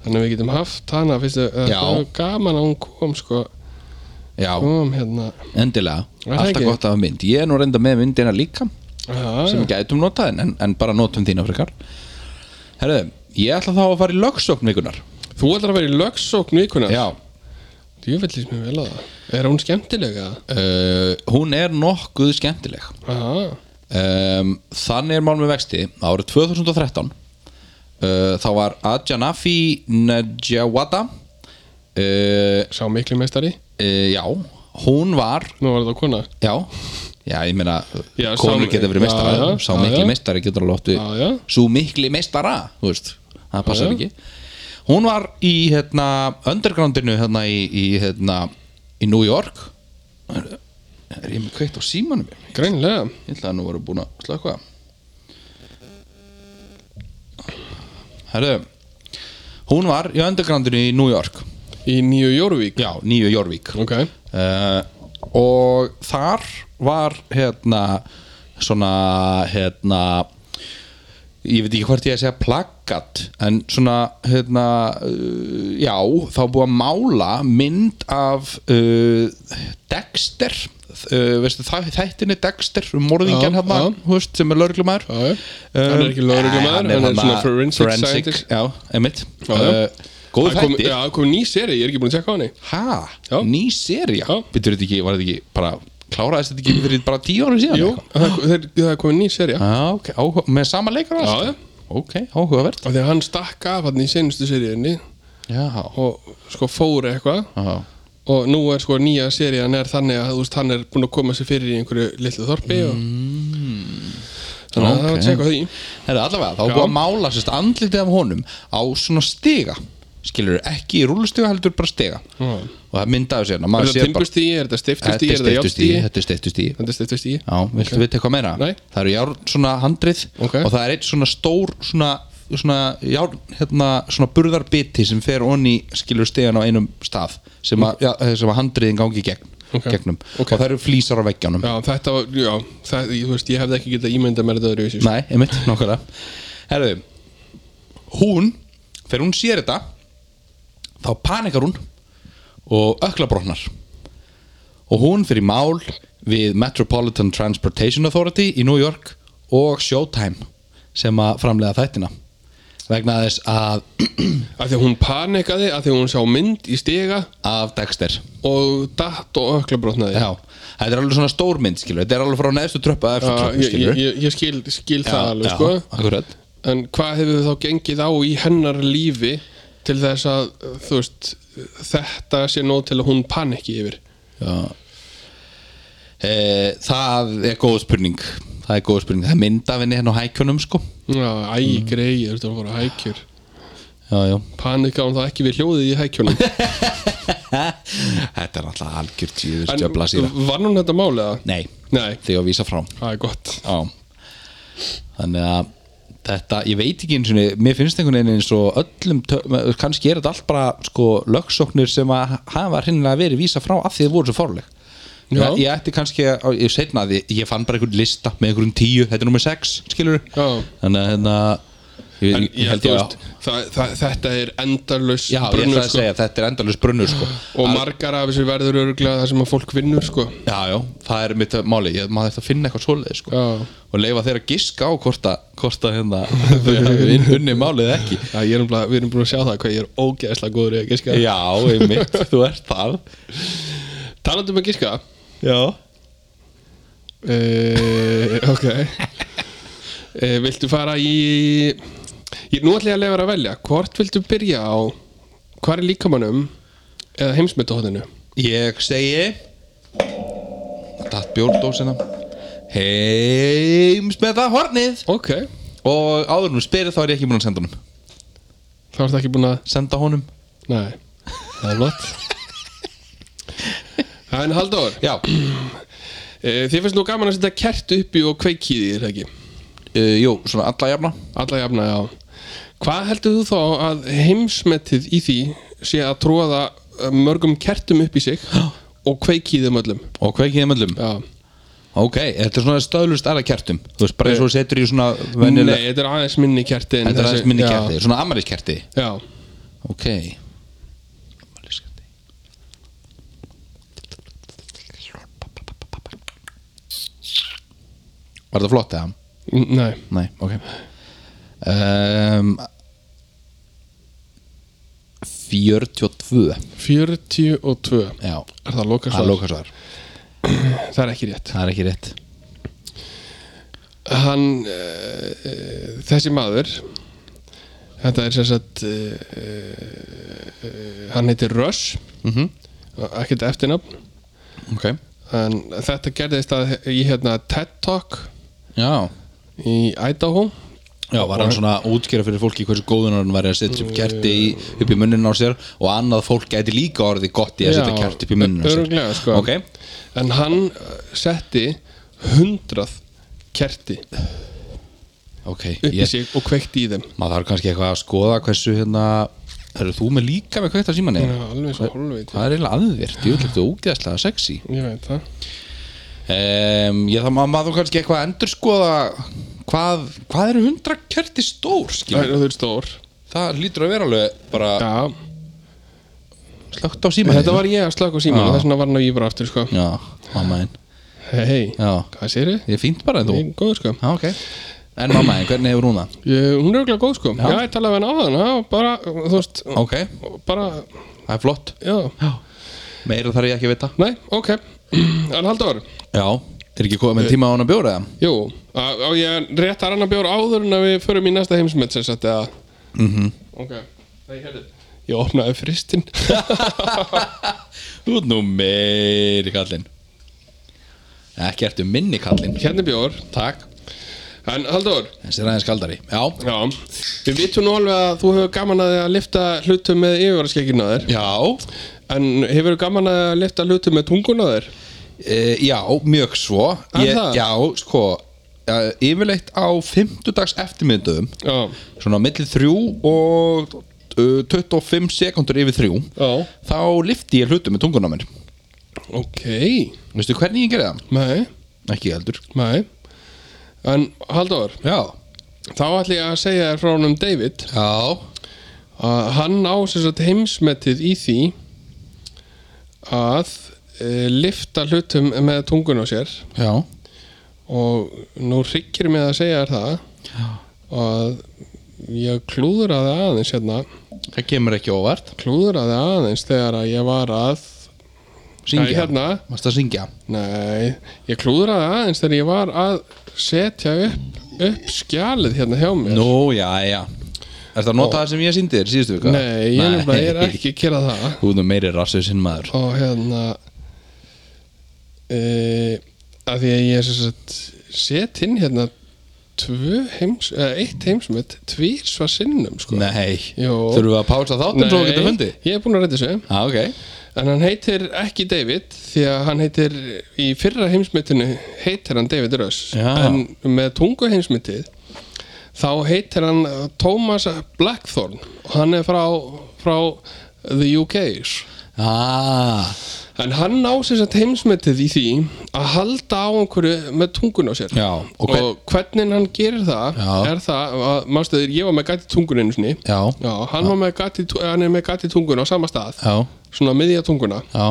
Þannig að við getum haft hana fyrst að
Já.
það var gaman að hún kom sko,
Já,
kom hérna
endilega
það
Alltaf
ekki?
gott að hafa mynd Ég er nú reynda með myndina líka
Aha,
sem við gætum notað en, en bara notum þína frekar Herru, ég ætla þá að fara í lögsókn vikunar
Þú ætlar að vera í lögsókn vikunar
Já
Ég vil líst mér vel að það Er hún skemmtilega?
Uh, hún er nokkuð skemmtileg
Aha,
um, Þannig er mál með vexti árið 2013 uh, þá var Adjanafi Najawada uh,
sá miklu meistari
uh, Já, hún var
Nú var þetta kona
Já, já ég meina
Já,
konur
sá-
geta
já,
verið meistara
já,
Sá
já,
mikli
já.
meistari getur alveg óttu
Já, já.
Sú mikli meistara, þú veist Það
já.
passar ekki Hún var í hérna, undergroundinu hérna, í, í, hérna, í New York Er er ég með kveikt á símanum minn?
Greinlega
Ég ætla að nú voru búin að slökka Herðu Hún var í undergroundinu í New York
Í nýju Jórvík
Já, nýju Jórvík
Ok
uh, Og þar var hérna Svona hérna Ég veit ekki hvort ég að segja plaggat En svona hérna uh, Já, þá búið að mála mynd af uh, Dexter uh, veistu, það, Þættinni Dexter um morðingjan
Já,
hérna,
já.
þú veist, sem er Eh, lauruglumæður
Já, já. Hann er ekki lögreglumaður, hann er svona forensic scientist.
Já, einmitt
Já, já.
Uh, Góð
Það kom-
þættir
Já, það kom ný seri, ég er ekki búin að tjekka á henni
Hæ?
Já.
Ný seria?
Já.
Býtur þetta ekki, var þetta ekki bara kláraðist þetta ekki fyrir bara tíu árum síðan?
Jú, það, það, það kom ný seri
Já, ok, áhuga, með sama leikar
Já, já.
Ok, áhugavert
Þegar hann stakk af hann í seinustu seriðinni
Já,
og sko fór eitthvað
já,
og nú er sko nýja serían er þannig að þú veist hann er búin að koma sér fyrir í einhverju litlu þorpi og þannig að það var
Mm. ok.
að tjekka á því
Herra, allavega, þá
Já.
er búið að mála sérst andlitið af honum á svona stiga Skilur, ekki í rúlustiga heldur bara stiga
Já.
Og það myndaði sérna
Er
maður
þetta
sér bara-
timbustí, er þetta stiftustí,
Þetta
er
er
þetta
steyttustí,
játstí
þetta er steyttustí
Þetta er stiftustí
Já, viltu vita eitthvað meira?
Nei.
Það eru járn svona handrið
Ok.
og það er eitt svona stór svona, svona járn, hérna, svona burðarbiti sem fer onni skilur stegan á einum stað sem að, ja, sem að handriðin gangi í gegn,
Ok.
gegnum
Ok.
og það eru flýsar á veggjónum
Já, þetta var, já, það, ég, þú veist, ég hefði ekki getað ímyndað mér þetta öðru í
Nei, einmitt, nokkara Herðu, hún þegar hún sér þetta þá panikar hún og ökla brotnar og hún fyrir mál við Metropolitan Transportation Authority í New York og Showtime sem að framlega þættina vegna þess að
Af því að hún panikaði, af því að hún sá mynd í stiga
af Dexter
og datt og öklabrotnaði
Já, þetta er alveg svona stórmynd skilur þetta er alveg frá neðstu tröppu að eftir tröppu
ég,
skilur
ég, ég, ég skil, skil það alveg, sko
já, akkurat
En hvað hefur þá gengið á í hennar lífi til þess að, þú veist, þetta sé nóg til að hún panikki yfir?
Já e, Það er góð spurning Það er góð spurning, það er mynd af henni hérna á hækjunum sko
Já, æ, mm. greið, þú veist, hún fór að hækjur.
Já, já
Panika hún þá ekki við hljóðið í hækjunum.
Þetta er alltaf algjört tíður stjöfla síra
var hún þetta málið það?
Nei,
Nei,
því að vísa frá
það er gott.
Já Þannig að þetta, ég veit ekki eins og mér finnst einhvern veginn eins og öllum tö- kannski er þetta allt bara sko lögsóknir sem að hafa hreinlega verið vísa frá af því þið voru svo fórleg
Já.
Ég ætti kannski, að- ég setna að ég, ég fann bara einhvern lista með einhvern tíu, þetta er nummer 6 skilur
Já.
þannig að hérna Ég,
En
en,
ég,
held
þú
ég
veist,
að
það, það, þetta er endarlaus
Já, ég ætla
brunnur
að
sko.
segja, þetta er endalus brunnur sko.
og margar af þessu verður öruglega það sem að fólk vinnur sko.
Já, já, það er mitt máli ég, maður þarf að finna eitthvað svoleiði sko.
Já.
og leifa þeir að giska á hvort að hvort að hérna þau hafi unni málið eða ekki
Já, ég er um við erum búin að sjá það hvað ég er ógeðslega góður í að giska
Já, einmitt, þú ert það
talandi um að giska
Já
uh, ok uh, viltu fara í ég, nú ætla ég að lefa að velja hvort viltu byrja á hvað er líkamannum eða heimsmyndahóttinu
Ég segi Datt bjórdósina Heims með það hornið
ok,
Og áður nú spyrir þá er ég ekki búin að senda honum
þá ertu ekki búin að
Senda honum
nei, það er lott en Halldór
Já,
Eh, Þið finnst nú gaman að setja kert uppi og kveiki í því, er það ekki?
uh, jú, svona alla jafna
Alla jafna, já. Hvað heldur þú þá að heimsmetið í því sé að tróða eh, mörgum kertum upp í sig og kveiki í þeim öllum?
Og kveikið þeim öllum
Já.
Ok, þetta er svona stöðlust aðra kertum Þú veist, bara eins og þú setur í svona venjuleg
Nei, þetta er aðeins minni kerti en
Þetta er aðeins
þessi-
minni
já,
kerti, svona amarísk kerti
Já,
Ok Amarísk kerti Var þetta flott eða?
N- nei.
Nei, ok um, 42
42.
Já,
Er það lokast?
það er lókasvar
Það er ekki rétt.
Það er ekki rétt
hann uh, þessi maður þetta er sem sagt uh, uh, hann heitir Rush
Mhm.
ekkert eftirnafn
Ok
en þetta gerðist að í hérna TED Talk
Já
í Idaho
Já, var hann svona að útskýra fyrir fólki hversu góðun hann var að setja upp kerti í, upp í munnin á sér og annað fólk gæti líka orðið gott í að
Já,
setja kerti upp í munnin á sér
örugglega, sko.
Ok,
en hann eh, setti hundrað kerti
ok
upp í
ég,
sig og kveikti í þeim
Maður þarf kannski eitthvað að skoða hversu hérna Eru þú með líka með kveikt á símanni?
Já, alveg svo hálfveit
Það er eiginlega aðvirt, ég vil þetta ógeðslega sexy
ég veit það
um, Ég það maður maður þarf kannski eitthvað að endurskoða hvað, hvað eru hundra kerti stór,
það
skilur?
er- þau eru stór
Það lítur að vera alveg bara
já
slögt á símanni
þetta var ég að slaka á síman
Já.
og þess vegna var hann að ég bara aftur sko
Já, mamma einn
hei hei
Já,
hvað séru?
ég er fínt bara en þú
góð sko
Já, ok En mamma, en hvernig hefur hún það?
Ég, hún er auðvitað góð sko Já, ég talaði við hann áðan Já, bara, þú veist
Ok,
Bara,
það er flott
já
Meira þarf ég ekki að vita
Nei, ok En Halldór
Já, er ekki komið tíma á hún að bjóra það?
Jú, á á ég réttar hann að bjóra áður en að við förum í næsta heimsmet sem sagt eða Mhm Ok, það er hérðið Ég opnaði fristinn
Þú ert nú meiri kallinn Ekki ertu minni kallinn
Hérna er bjór
Takk
En Halldór
Þessi er aðeins kaldari Já
Já Við vitum nú alveg að þú hefur gaman að því að lifta hlutum með yfirvaraskekkinu að þér
Já
En hefur þú gaman að lifta hlutum með tungun að þér?
e, Já, mjög svo
Er það?
Já, sko e, Yfirleitt á fimmtudags eftirmyndum
Já
Svona á milli þrjú og e, 25 sekundur yfir þrjú
Já
Þá lifti ég hlutum með tunguna mér
Ok
Veistu hvernig ég gerði það?
Nei
Ekki heldur
Nei En Halldór,
Já
þá ætlum ég að segja þér frá honum David
Já
að hann á sem sagt heimsmetið í því að e, lifta hlutum með tungun á sér
Já
og nú hryggir mig að segja þér það að ég klúðraði aðeins hérna,
Það kemur ekki óvart
klúðraði aðeins þegar að ég var að
Syngja
Nei, hérna.
Mást að syngja
nei, ég klúðraði aðeins þegar ég var að setja upp, upp skjalið hérna hjá mér
Nú, já, já Er það að nota það sem ég síndi þér síðustu vika?
Nei, ég nefnilega ég er ekki að gera það
Þú erum meiri rassu sinn maður
og hérna e, að því að ég er sem sagt set inn hérna tvö heims, eða eitt heimsmet tvísva sinnum sko
Nei
Jó.
Þurfum við að pása þáttinn svo við getum fundið?
ég er búin að reyta þessu
Já, ok
en hann heitir ekki David því að hann heitir í fyrra heimsmetinu heitir hann David Russ
Já.
en með tungu heimsmetið þá heitir hann eh, Thomas Blackthorne og hann er frá, frá the UK
Ah
en hann ná sér satt heimsmetið í því að halda á einhverju með tungun á sér
Já, og
og,
hvern-
hvernig hann gerir það
Já.
er það, að- manstu þegar ég var með gæti tungun einu sinni
Já,
Já, hann, var með gati, hann er með gati tungun á sama stað
já,
svona miðja tunguna
já,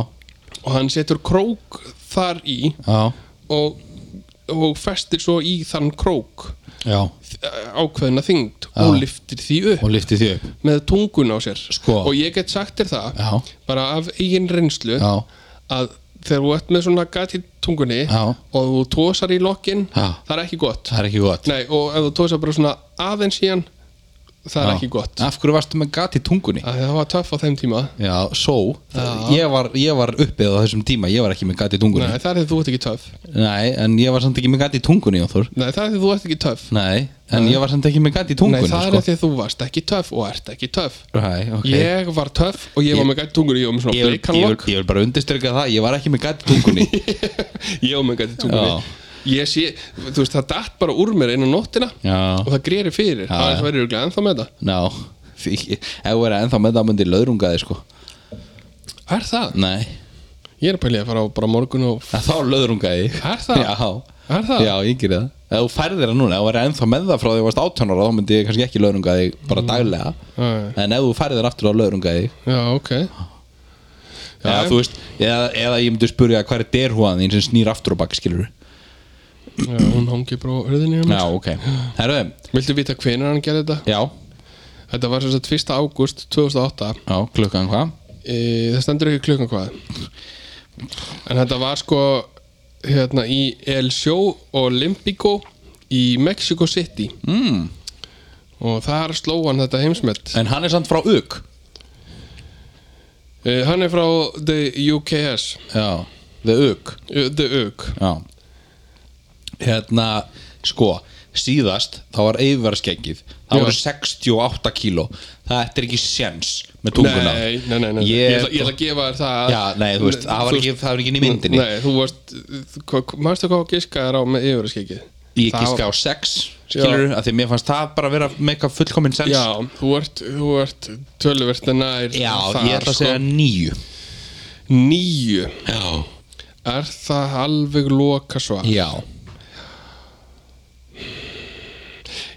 og hann setur krók þar í
já,
og, og festir svo í þann krók
já
eh, ákveðna þyngd og liftir því upp
Og lyfti því upp
með tungun á sér
Sko.
og ég get sagt þér það
Já,
bara af eigin reynslu
já,
að þegar þú ert með svona gati tungunni
já
og þú tósar í lokin
Já.
það er ekki gott
Það er ekki gott
Nei, og ef þú tósar bara svona aðeins í hann það er
Já.
ekki gott
Af hverju varstu með gat í tungunni?
Að það var töff á þeim tíma
Já, svo ég var, ég var uppið á þessum tíma Ég var ekki með gat í tungunni
Nei, það er því þú ert ekki töff
Nei, en ég var samt ekki með gat í tungunni, Jóþór
Nei, það er því þú ert ekki töff
Nei, en ég var samt ekki með gat í
Nei,
tungunni
það er
sko.
því þú varst ekki töff og ert ekki töff
Nei, ok
Ég var töff og ég var með gæti tungunni Ég var með svona
Ég vil, ég, vil,
blikanlokk
ég vil bara undirstyrka það, ég var ekki með gat í tungunni
Ég var með gæti tungunni Ég sé, þú veist, það datt bara úr mér einu nóttina
Já,
og það greri fyrir
Já,
það
já.
er verið örugglega ennþá með
ná Því- Ef þú er ennþá með það myndi löðrungaði sko
það Er það?
Nei,
Ég er að pælið að fara á bara morgun og
að þá löðrungaði ég.
Er það?
Já,
Er það?
já ég gerir það Ef þú færðir það núna, ef þú er ennþá með það frá því þú varst 18 ára þá myndi ég kannski ekki löðrungaði bara daglega
Nei.
En ef þú færðir aftur á löðrungaði
Já, ok
eða,
Já.
þú veist, eða, eða ég myndi spurja hvað er derhúan þín sem snýr aftur á bak skilur
Já, hún hangi bara á hörðinni um
Já, ok Herðu,
Viltu vita hvenær hann gerði þetta?
já,
Þetta var sem sagt 1. ágúst 2008
já, klukkan hvað?
e, Það stendur ekki klukkan hvað En þetta var sko hérna í El Show Olympico í Mexico City
Mm.
og þar sló hann þetta heimsmet
En hann er samt frá UK
e, Hann er frá The UKS
Já, the UK
eh, The UK
Já Hérna, sko síðast, þá var yfirverðskengið það
Já.
voru 68 kíló það er ekki séns með tunguna
Nei, nei, nei, nei. Ég, ætla, ég ætla að gefa þér það
Já, nei, þú veist, það var ekki, það var ekki inn í myndinni
Nei, þú varst Mærstu hvað giskaðir á með yfirskikið?
Ég
það
gíska á 6, skilur að því að mér fannst það bara vera meika fullkominn sens
Já, þú ert, þú ert töluvert nær
Já,
þar, sko.
ég ætla að segja 9
Níu
Já
Er það alveg loka svar?
Já,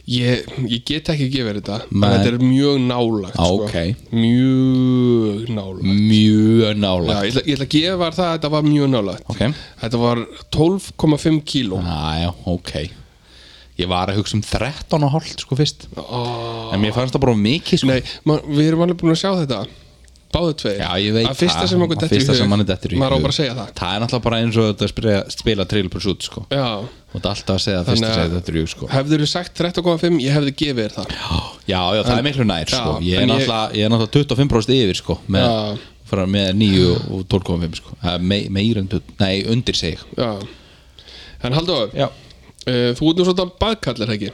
Ég, ég get ekki gefið þetta En
Nei.
þetta er mjög nálagt
Á,
sko.
ok.
Mjög nálagt
mjög
Já,
nála
ég, ætla, ég ætla að gefa þér það að þetta var mjög nálagt
Ok,
Þetta var 12,5 kíló
Ah, já, ok Ég var að hugsa um 13 og hálft, sko, fyrst
oh.
En mér fannst það bara of mikið, sko
Nei, man, við erum alveg búin að sjá þetta Báðu tveir
Já, ég veit
Að fyrsta
það.
sem okkur
Að
dettur í
fyrsta
hug,
sem manni dettur í
Maður á
hug.
bara að segja það
Það er náttúrulega bara eins og þetta að spila, spila Trill Pursuit sko
Já,
Og þetta alltaf að segja að fyrst
Þannig að-
að segja þetta drjú sko
hefðurðu sagt 13,5 Ég hefði gefið þér það
Já, já, það er miklu nær sko
Já,
Ég er
en ég-
náttúrulega, ég er náttúrulega 25% yfir sko
Já.
Með, frá, með 9 og 12,5 sko Það er me, Meir en 20, nei, undir sig
Já En Halldór,
Já
uh, þú ert nú svona baðkallar ekki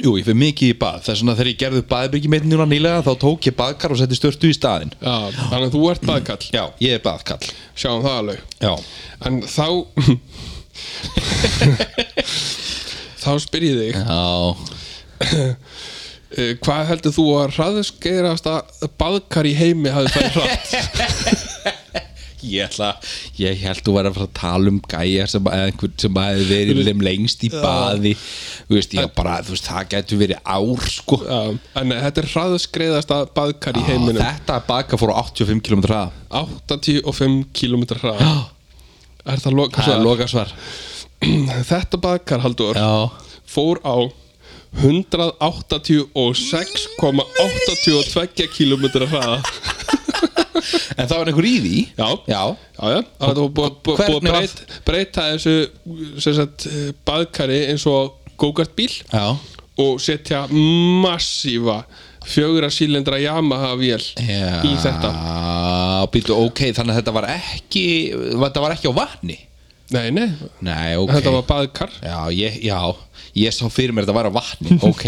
Jú, ég fyrir mikið í bað Þess vegna þegar ég gerði baðbyggjum eitt núna nýlega Þá tók ég baðkar og setti störtu í staðinn
Já, þannig að þú ert baðkall
Já, ég er baðkall
Sjáum það alveg
Já,
En þá Þá spyr ég þig
já.
uh, Hvað heldur þú að hraðskeirast að baðkar í heimi hafi farið hratt?
Ég ætla, ég held þú væri að fara að tala um gæja sem, eða einhvern sem hefði verið lem lengst í baði þú veist, ég bara, þú veist, það getur verið ár sko
Já, Ah, en nei, þetta er hraðskreiðast að baðkar í heiminum
Ah, Þetta baka fór á 85 km hraða
85 km hraða Er það loka
Ah. Það er
svar?
loka svar
Þetta baðkar haldur
Já,
fór á 186,82 km hraða
en það var einhver í því
Já, já,
Já,
já Það var búið bú, bú,
Hvernig var-
breyt, breyta þessu sem sagt, eh, baðkari eins og go-kartbíl
já,
og setja massífa fjögra sílindra Yamaha vél í þetta
Býtu, ok, þannig að þetta var ekki þetta var ekki á vatni
Nei, nei,
Nei, ok
þetta var baðkar
Já, ég, já, ég sá fyrir mér þetta væri á vatni Ok,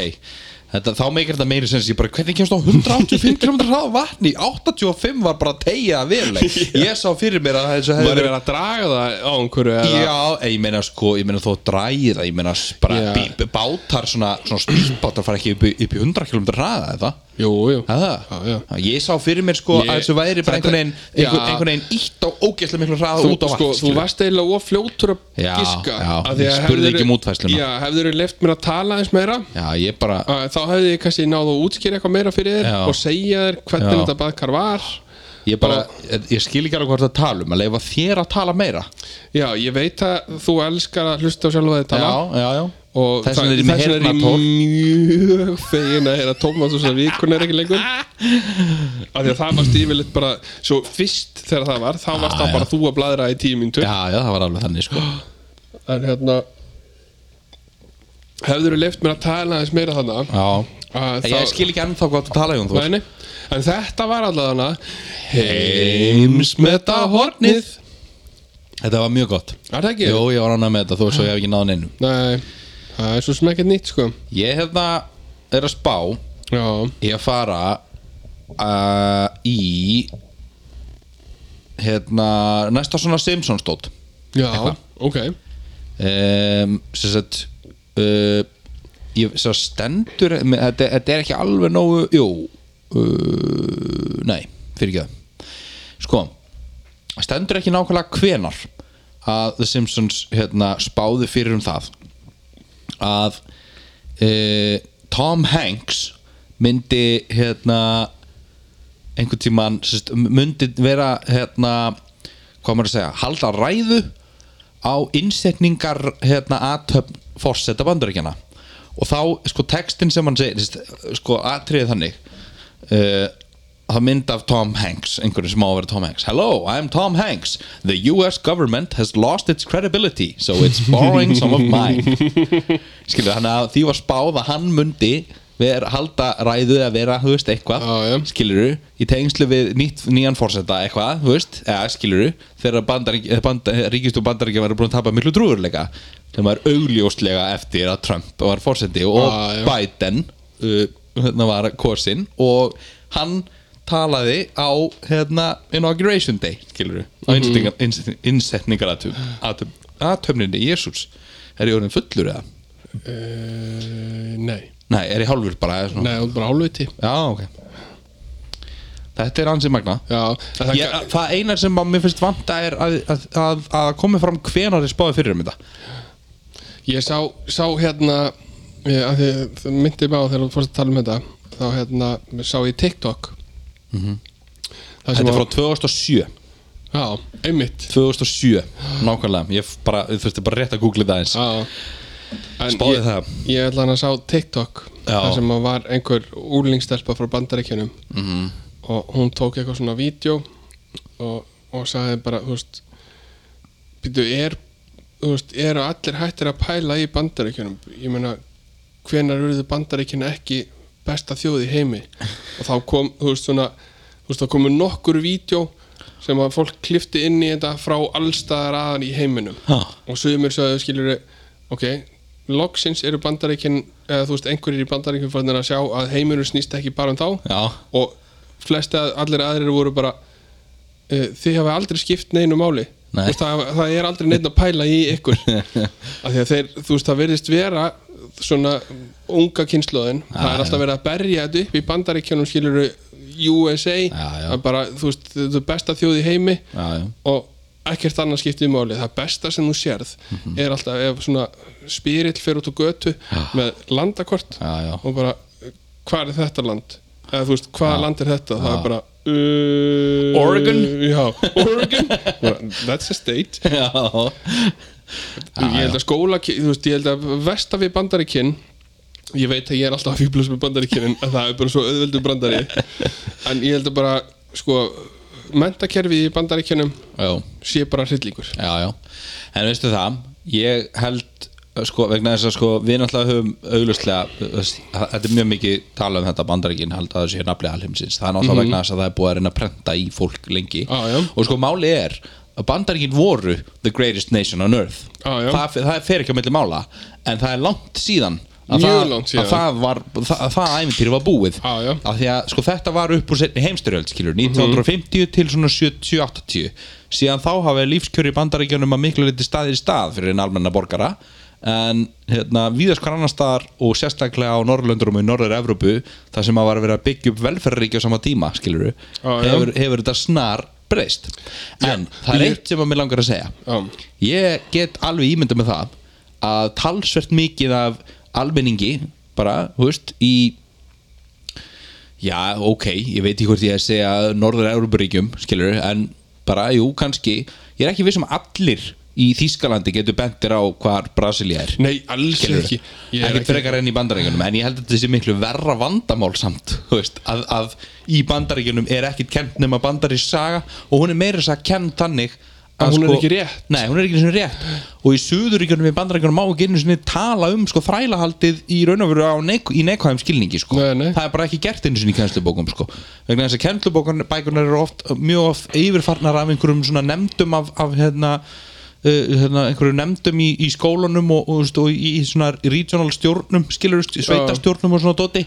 þetta, þá meikir þetta meiri sens Ég bara, hvernig kemst á 185 km hraða á vatni 85 var bara tegja veruleg Ég sá fyrir mér að þessu
Maður
hefði
er
verið
verið að draga það á einhverju eða
Já, en ég meina sko, ég meina þó dræða Ég meina s- bara
Já.
bí, bátar svona, svona spýrbátar fara ekki upp, í- upp í 100 km hraða eða
Jú, jú
Að
Já,
það?
já.
Já, Ég sá fyrir mér sko
Ég-
að þessu væri bara
þetta-
einhvern veginn einhvern,
Já.
einhvern veginn ítt á ógeðslega miklu hraða
Þú,
út á vatn
sko, þú
skilurðu.
varst eiginlega of fljótur að
Já,
giska
já,
af því
ég
að
spurði
hefðirðu-
ekki um útfærsluna.
Já, hefður þú leift mér að tala eins meira
Já, ég bara
að þá hefði ég kannski náðu að útskýra eitthvað meira fyrir þér
Já.
og segja þér hvernig
Já.
þetta baðkar var
Ég, bara, ég skil ekki alveg hvort það tala um að leifa þér að tala meira
Já, ég veit að þú elskar að hlusta á sjálfa þig tala
Já, já, já
og
Þess vegna
það-
er ég með
þess vegna
heyrnartól.
mjög fegin að heyra Tómas og þessar vikun er ekki lengur af því að það var stífilegt bara svo fyrst þegar það var þá varst það
já.
bara þú að bladra í tíu mínútur
Já, já, það var alveg þannig sko
en hérna hefðurðu leift mér að tala aðeins meira þannig
Já
að
Ég skil ekki ennþá hvað það tala um þú
Nei, nei. en þetta var allavega
Heimsmeta hornið Þetta var mjög gott
Er það ekki?
Jú, ég var ánað með þetta þó svo ég hef ekki náðan einum
Nei, það er svo sem ekkert nýtt sko
Ég hefna, er að spá
Já,
Ég að fara uh, í hérna næsta svona Simpsons stótt
já,
Eitthvað.
ok
um, sem sagt uh, ég sem sagt stendur me- þetta, þetta er ekki alveg nógu jú, uh, nei, fyrir ekki það sko stendur ekki nákvæmlega hvenar að The Simpsons hérna, spáði fyrir um það að uh, Tom Hanks myndi hérna einhvern tímann sérst, myndi vera hérna, hvað á maður að segja, halda ræðu á innsetningar hérna, aðtöfn fórseta bandaríkjana og þá sko textin sem hann segir sérst, sko atriðið þannig uh, það mynd af Tom Hanks einhverju sem á að vera Tom Hanks Hello, I'm Tom Hanks The US government has lost its credibility so it's borrowing some of mine skilur, hann að því var spáð að hann mundi ver, halda ræðu að vera, þú veist, eitthvað
Já, já.
skiluru, í tengslu við nýtt, nýjan fórseta eitthvað, þú veist, eða skiluru þegar bandarík, bandar, ríkist og bandaríkja var búin að tapa miklu trúurleika þegar maður augljóslega eftir að Trump var fórseti og
Já, já.
Biden uh, hérna var kosin og hann talaði á hérna, inauguration day skiluru, á
Mhm.
innsetningar, innsetningar, innsetningar atum, atum, atöfninni, jésús er ég orðin fullur eða?
uh, Nei,
Nei, er ég hálfur bara eða svona
nei, þú er bara hálfviti
Já, ok Þetta er ansið magna
Já, en það,
ég, Það einar sem að mér finnst vanta er að, að, að, að komi fram hvenar er spáði fyrir um þetta
Ég sá, sá hérna ég, að því, það myndi mig á þegar þú fórst að tala um þetta þá hérna sá ég TikTok Það sem
Mhm. Þetta er
var,
frá 2007
já, einmitt
2007, nákvæmlega Ég bara, ég þurfti bara rétt að googla það eins
Já En
Spáðu
ég,
það.
Ég ætla hann að sá TikTok
Já.
þar sem að var einhver úrlingstelpa frá bandaríkjunum
Mhm.
-hmm. og hún tók eitthvað svona vídeo og, og sagði bara þú veist býtu, er, þú veist, eru allir hættir að pæla í bandaríkjunum ég meina, hvenær eruðu bandaríkjun ekki besta þjóð í heimi og þá kom, þú veist, svona þú veist, þá komu nokkur vídeo sem að fólk klifti inn í þetta frá allstaðar aðan í heiminum
Ha.
og sögumir sögðu skilur ok, loksins eru bandaríkin eða þú veist, einhverjir í bandaríkin fannir að sjá að heimurinn snýst ekki bara um þá
Já,
og flest að allir aðrir voru bara uh, þið hafa aldrei skipt neinu máli
Nei.
Þú veist, það, það er aldrei neinn að pæla í ykkur af því að þeir, þú veist, það verðist vera svona unga kynnslóðin það er alltaf verið að berja þetta upp í bandaríkjunum skilur USA
Já, já.
Það er bara, þú veist, þetta er besta þjóð í heimi
já, já
og ekkert annað skiptið máli það besta sem þú sérð
Mhm.
er alltaf ef svona spyrill fyrir út á götu með landakort
Já, já.
og bara, hvað er þetta land? eða þú veist, hvaða land er þetta? það er bara uh,
Oregon?
já, Oregon Bara, that's a state
Já,
ég held að skóla, þú veist, ég held að vesta við bandarikinn ég veit að ég er alltaf að fýblast með bandarikinn en það er bara svo auðveldur brandari en ég held að bara, sko mentakerfið í bandarikinnum
já
sé bara hryllingur
já, já. en veistu það ég held uh, sko, vegna þess að sko, við náttúrulega höfum auglustlega þetta er mjög mikið tala um þetta bandaríkin held að þessi er nafnlega alheimsins það er náttúrulega vegna þess að það er búið að reyna að prenta í fólk lengi
Mhm. Já, já.
og sko máli er að bandaríkin voru the greatest nation on earth
Já, já.
Það, það fer ekki á milli mála en það er langt síðan að
Mjög
það,
langt síðan.
að það var, það, að það æventýri var búið
Já, já.
Af því að sko, þetta var upp úr setni heimstyrjöld skilur, 1950 til svona 70-80 síðan þá hafa lífskjör í bandaríkjunum að miklu liti staðir í stað fyrir en almenna borgara en hérna, víðast hvar annar staðar og sérstaklega á Norrlöndurum og í Norður Evrópu þar sem að var að vera að byggja upp velferðaríki á sama tíma, skilur við
Já, já.
hefur, hefur þetta snar breyst en það er
ég-
eitt sem að mér langar að segja
Já.
ég get alveg ímynda með það að talsvert mikið af almenningi bara, þú veist, í Já, ok, ég veit ekki hvort ég að segja Norður-Európaríkjum, skilur en bara, jú, kannski ég er ekki viss um að allir í Þýskalandi getur bentir á hvar Brasilia er
Nei, alls ekki Ég er
ekki frekar enn í bandaríkjunum en ég held að þetta sé miklu verra vandamál samt þú veist, að, að í bandaríkjunum er ekkit kent nema bandarísk saga og hún er meira þess að kent þannig sko-
Að hún er ekki rétt.
Nei, hún er ekki einu sinni rétt og í suðuríkjunum í bandaríkjunum má ekki einu sinni tala um sko, þrælahaldið í raun og veru á neik, í neikvæðum skilningi sko.
Nei, nei.
það er bara ekki gert einu sinni í kennslubókum sko. vegna þess að kennslubókunar eru oft mjög oft yfirfarnar af einhverjum svona nefndum af, af hérna Uh, hérna, einhverju nefndum í, í skólanum og, og, og, og í, í svona regional stjórnum skilur sveitastjórnum og svona doti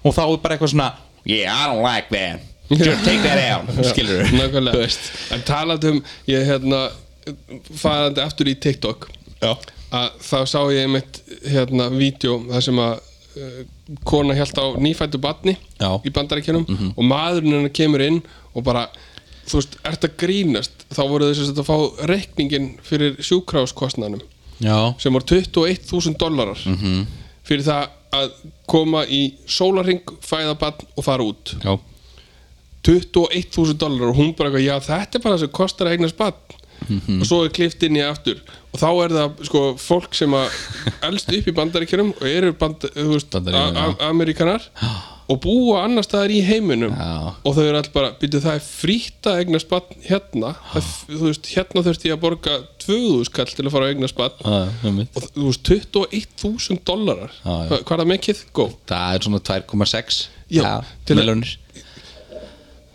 og þá er bara eitthvað svona yeah, I don't like that, just take that out skilur
Nákvæmlega En talandi um, ég hérna farandi aftur í TikTok
já
að þá sá ég einmitt hérna vídeo þar sem að uh, kona held á nýfættu batni
Já. Mhm.
í bandarækjunum og maðurinn hennar kemur inn og bara þú veist, ert að grínast þá voru þess að fá reikningin fyrir sjúkráskostnanum
Já,
sem var 21.000 dollarar
Mhm.
-hmm. fyrir það að koma í sólarring, fæða batn og fara út
já,
21.000 dólar og hún bara eitthvað, já þetta er bara það sem kostar að eignast bann
Mhm.
og svo er klift inn í aftur og þá er það sko fólk sem að elst upp í bandaríkjunum og eru band, þú veist,
Bandaríkjunum,
a- a- amerikanar og búa annar staðar í heiminum
Já.
og þau eru alltaf bara, býtu það er frítt að eignast bann hérna það, er- þú veist, hérna þurfti ég að borga 2000 kall til að fara að eignast bann
já, einmitt.
og þú veist, 21.000 dólarar
Já, já.
hvað hvað er það mikið? Go
það er svona 2,6
Já, til að-
miljónir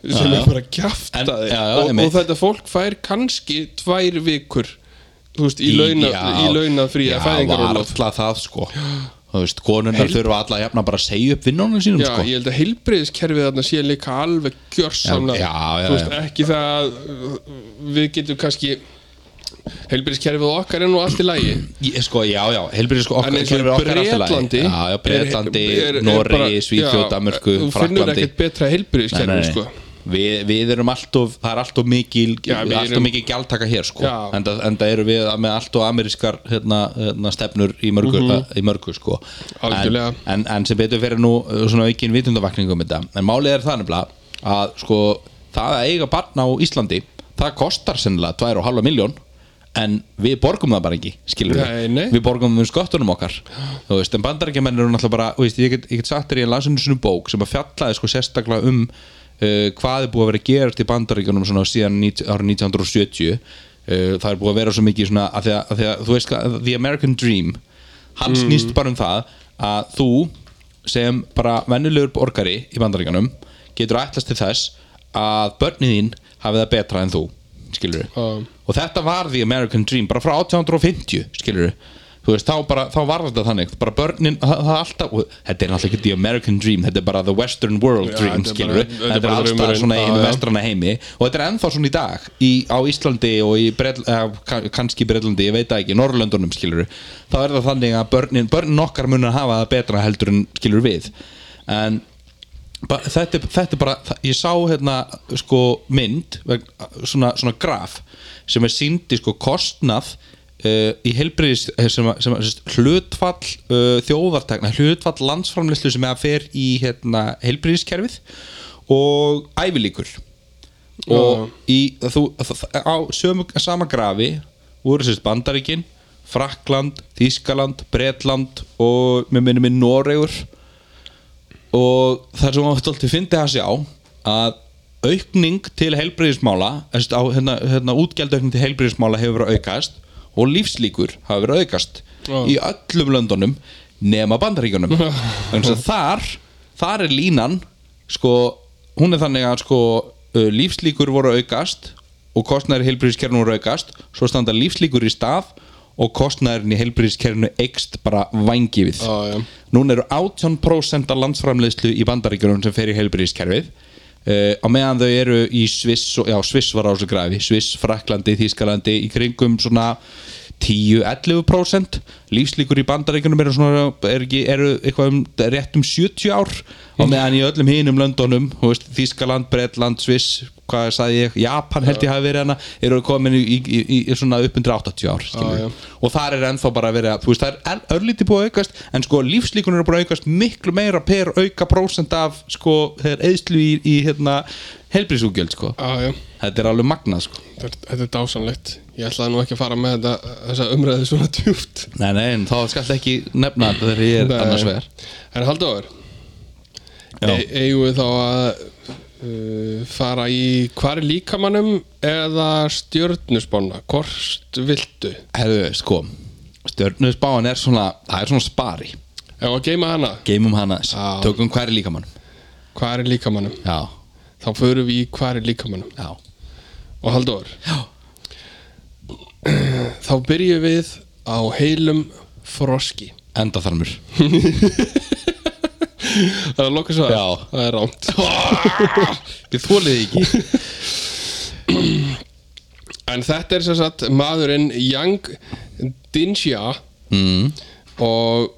sem er bara
En-
kjaftaði
já, já,
og,
einmitt.
og þetta fólk fær kannski tvær vikur þú veist, í, launa,
Já,
í launafrí að
Já, var
fæðingarólóf
alltaf það sko Þú veist, konunar þurfa alla jafna bara að segja upp vinnunum sínum
Já,
sko
ég held að heilbriðiskerfið þarna sé líka alveg gjörsamlega
Já, já, já,
Þú veist,
já.
ekki það að uh, við getum kannski heilbriðiskerfið okkar er nú allt í lagi
Ég, sko, já, já, helbriði sko okkar,
En eins og
kerfið okkar er allt í lagi.
Bretlandi
Já, já, Bretlandi, Noregi, Svíþjóð, Danmörku,
Þú finnur
Fraklandi
ekkert betra heilbriðiskerfið sko
Við, við erum allt of, það er allt of mikil
Já, við
allt of
erum-
mikil gjaldtaka hér sko
Já.
en það eru við með allt of amerískar hérna, hérna, stefnur í mörgu, í mörgu sko en,
Mhm. Algjörlega.
en, en sem betur fyrir nú uh, svona aukin vitundavakningum um þetta en málið er það nefnilega að sko það að eiga barn á Íslandi það kostar sennilega 2,5 miljón en við borgum það bara ekki skilur
Nei, nei.
við borgum um sköttunum okkar þú veist, en bandarækjamenn eru náttúrulega bara þú veist, ég, get, ég get sagt þér í lasinu sinni bók sem að fjallaði sko sérstaklega um uh, hvað er búið að vera að gerast í bandarækjunum svona síðan 19, árið 1970 uh, það er búið að vera svo mikið svona að því að, að því að þú veist, hvað, The American Dream hann snýst bara um það að þú sem bara vennilegur borgari í bandarækjunum getur ætlast til þess að börnin þín hafi það betra en þú skilur
Já.
og þetta var The American Dream bara frá 1850 skilur þú veist, þá, bara, þá var þetta þannig bara börnin, það, það alltaf og þetta er náttúrulega ekki The American Dream, þetta er bara The Western World
Já,
Dream,
þetta er
skilur
bara-
þetta,
þetta er
er
bara
alltaf
draumurinn,
svona í
já,
hinu
já.
vestrana heimi og þetta er ennþá svona í dag í, á Íslandi og í Bretl, eh, ka- kannski Bretlandi, ég veit það ekki, Norrlöndunum skilur þá er það þannig að börnin, börnin okkar munar hafa það betra heldur en skilur við en Ba, þetta, er- þetta er bara, þa- ég sá hérna sko mynd veg- svona, svona graf sem er síndi sko kostnað uh, í helbriðis sem, að- sem, að- sem sagt, hlutfall uh, þjóðartekna, hlutfall landsframleyslu sem að fer í hérna, helbriðiskerfið og ævilíkur og í, þú, þ- á sömu, sama grafi voru sérst Bandaríkin Frakland, Þískaland, Bretland og með minnum minn Noregur og það sem maður stolti fyndi að sjá að aukning til helbriðismála á, hérna, hérna, útgjaldaukning til helbriðismála hefur verið að aukast og lífslíkur hafa verið að aukast
Já.
í öllum löndunum nema bandaríkjunum þannig að þar þar er línan sko, hún er þannig að sko, uh, lífslíkur voru að aukast og kostnæður helbriðiskerfinu voru að aukast svo standa lífslíkur í stað og kostnæðurinn í helbriðiskerfinu eikst bara vængið
Já, já.
Núna eru 18% af landsframleiðslu í bandaríkjunum sem fer í heilbyrðiskerfið uh, á meðan þau eru í Sviss, og- já Sviss var á þessu grafi, Sviss, Fraklandi, Þískalandi í kringum svona 10-11% lífslíkur í bandaríkunum eru, svona, er ekki, eru eitthvað um rétt um 70 ár og meðan í öllum hinum löndunum þú veist, Þískaland, Bretland, Sviss hvað sagði ég, Japan held ég hafi verið hana eru komin í, í, í, í svona upp undir 80 ár skilur
Já, já.
við. og þar er ennþá bara verið að, þú veist, það er örlítið búið að aukast en sko lífslíkun eru búið að aukast miklu meira per auka prósent af sko þegar eðslu í, í hérna helbrísúgjöld sko,
Já, já,
þetta er alveg magnað sko
þetta er- þetta er dásanlegt Ég ætlaði nú ekki að fara með þetta, þessa umræði svona djúpt
Nei, nei, en þá skal ekki nefna þetta þegar ég er
Nei.
annars vegar
En Halldóður,
Já.
e eigum við þá að uh, fara í hvar er líkamannum eða stjörnusbána Hvort viltu?
Herðu, sko, stjörnusbáin er svona, það er svona spari
Ef að geima hana,
Geimum hana þess,
Já.
tökum hverju líkamann
hvar er líkamannum?
Já,
Þá förum við í hvar er líkamannum
já,
Og Halldóður,
já
þá byrjum við á heilum froski
Endaþarmur
Það er lokað svar,
Já.
það er rámt
Ég þólið ekki
En þetta er sem sagt maðurinn Yang Dinxia
mm.
og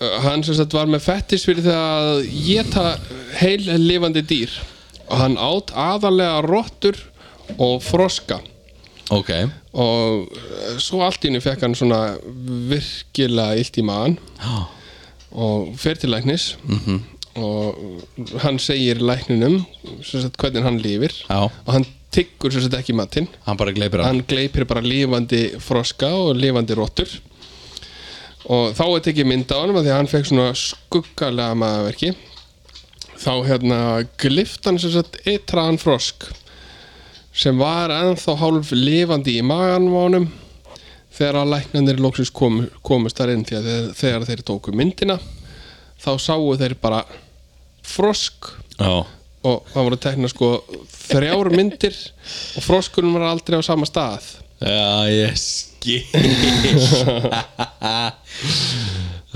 uh, hann sem sagt var með fettis fyrir það að geta heil lifandi dýr og hann átt aðalega rottur og froska
Ok,
og uh, svo allt í henni fekk hann svona virkilega illt í maðan
já,
og fer til læknis og uh, hann segir lækninum sem sagt, hvernig hann lifir
já
og hann tyggur sem sagt ekki matinn
Hann bara gleipir hann
hann gleipir bara lifandi froska og lifandi rottur og þá er tekið mynd á honum af því að hann fekk svona skuggalega maðurverki þá hérna glift hann sem sagt eitraðan frosk sem var ennþá hálf lifandi í maganvánum þegar að læknanir loksins kom, komust þar inn því að þegar, þegar þeir tóku myndina þá sáu þeir bara frosk
Já,
og það voru tekna sko þrjár myndir og froskunum var aldrei á sama stað
já, ég skil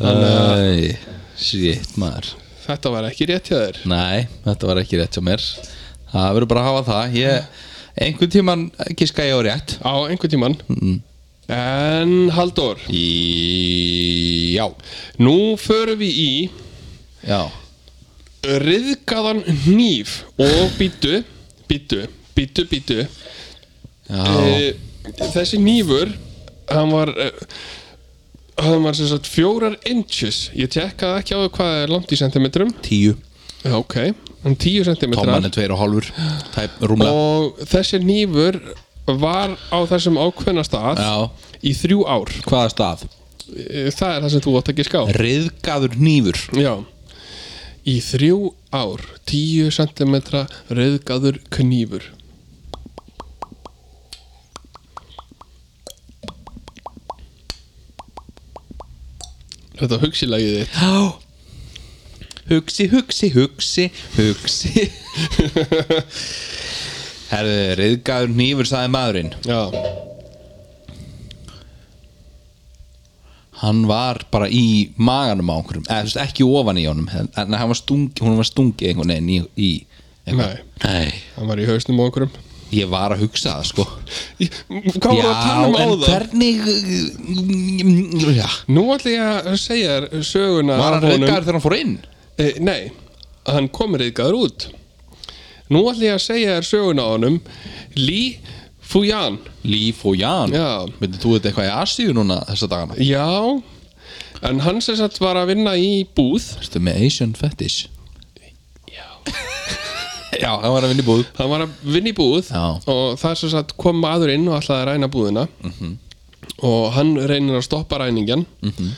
Æ, Shit, maður
þetta var ekki rétt hjá þér
Nei, þetta var ekki rétt hjá mér Það verður bara að hafa það ég, Einhvern tíman giska ég á rétt
á einhvern tíman en Halldór
í... Já
nú förum við í
Já
riðgaðan hníf og býtu býtu, býtu, býtu
Já,
Eh, þessi hnífur hann var eh, hann var sem sagt fjórar inches ég tekkaði ekki á því hvað er langt í sentimetrum
tíu
Já, ok, um 10 sentimetrar
Tóman er tveir og hálfur Tæp, rúmlega
og þessi nýfur var á þessum ákveðna stað
Já,
í þrjú ár
hvaða stað?
E, það er það sem þú átt að giska á
Riðgaður nýfur
já í þrjú ár 10 cm rauðgaður knýfur þetta hugsilagið þitt
Já Hugsi, hugsi, hugsi, hugsi Herðu, riðgaður nýfur sagði maðurinn
já,
Hann var bara í maganum á einhverjum eða þú veist ekki ofan í honum en en hann var stungi, hún var stungi einhvern veginn í, í
nei,
Nei,
hann var í hausnum á okkurum
ég var að hugsa það sko
hvað var að tala um á
en
það?
hvernig mm, já.
Nú ætla ég að segja þér söguna
Var hann
af honum.
reyðgar þegar hann fór inn?
Eh, nei, hann kom reyðgaður út Nú ætla ég að segja þér söguna á honum Li Fujan
Líf og Jan
Já.
Myndir þú þetta eitthvað í Asíu núna þessa dagana?
Já En hann sem sagt var að vinna í búð
Ertu með Asian Fetish?
Já.
Já, hann var að vinna í búð
Hann var að vinna í búð
Já.
Og það sem sagt kom maður inn og ætlaði að ræna búðina Og hann reynir að stoppa ræningjan -hmm.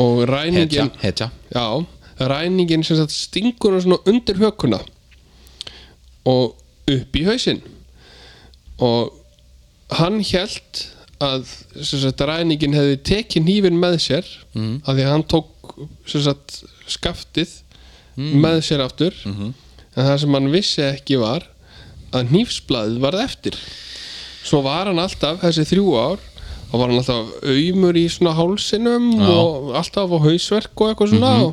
Og
Hetja,
ræningjan
hetja
Já, ræningin sem sagt stingur hann svona undir hökuna og upp í hausinn og hann held að sem sagt ræningin hefði tekið hnífin með sér mm. að því að hann tók sem sagt skaftið með sér aftur en það sem hann vissi ekki var að hnífsblaðið varð eftir svo var hann alltaf þessi þrjú ár og var hann alltaf auðmur í svona hálsinum
Já. Mhm.
og alltaf á hausverk og eitthvað svona og,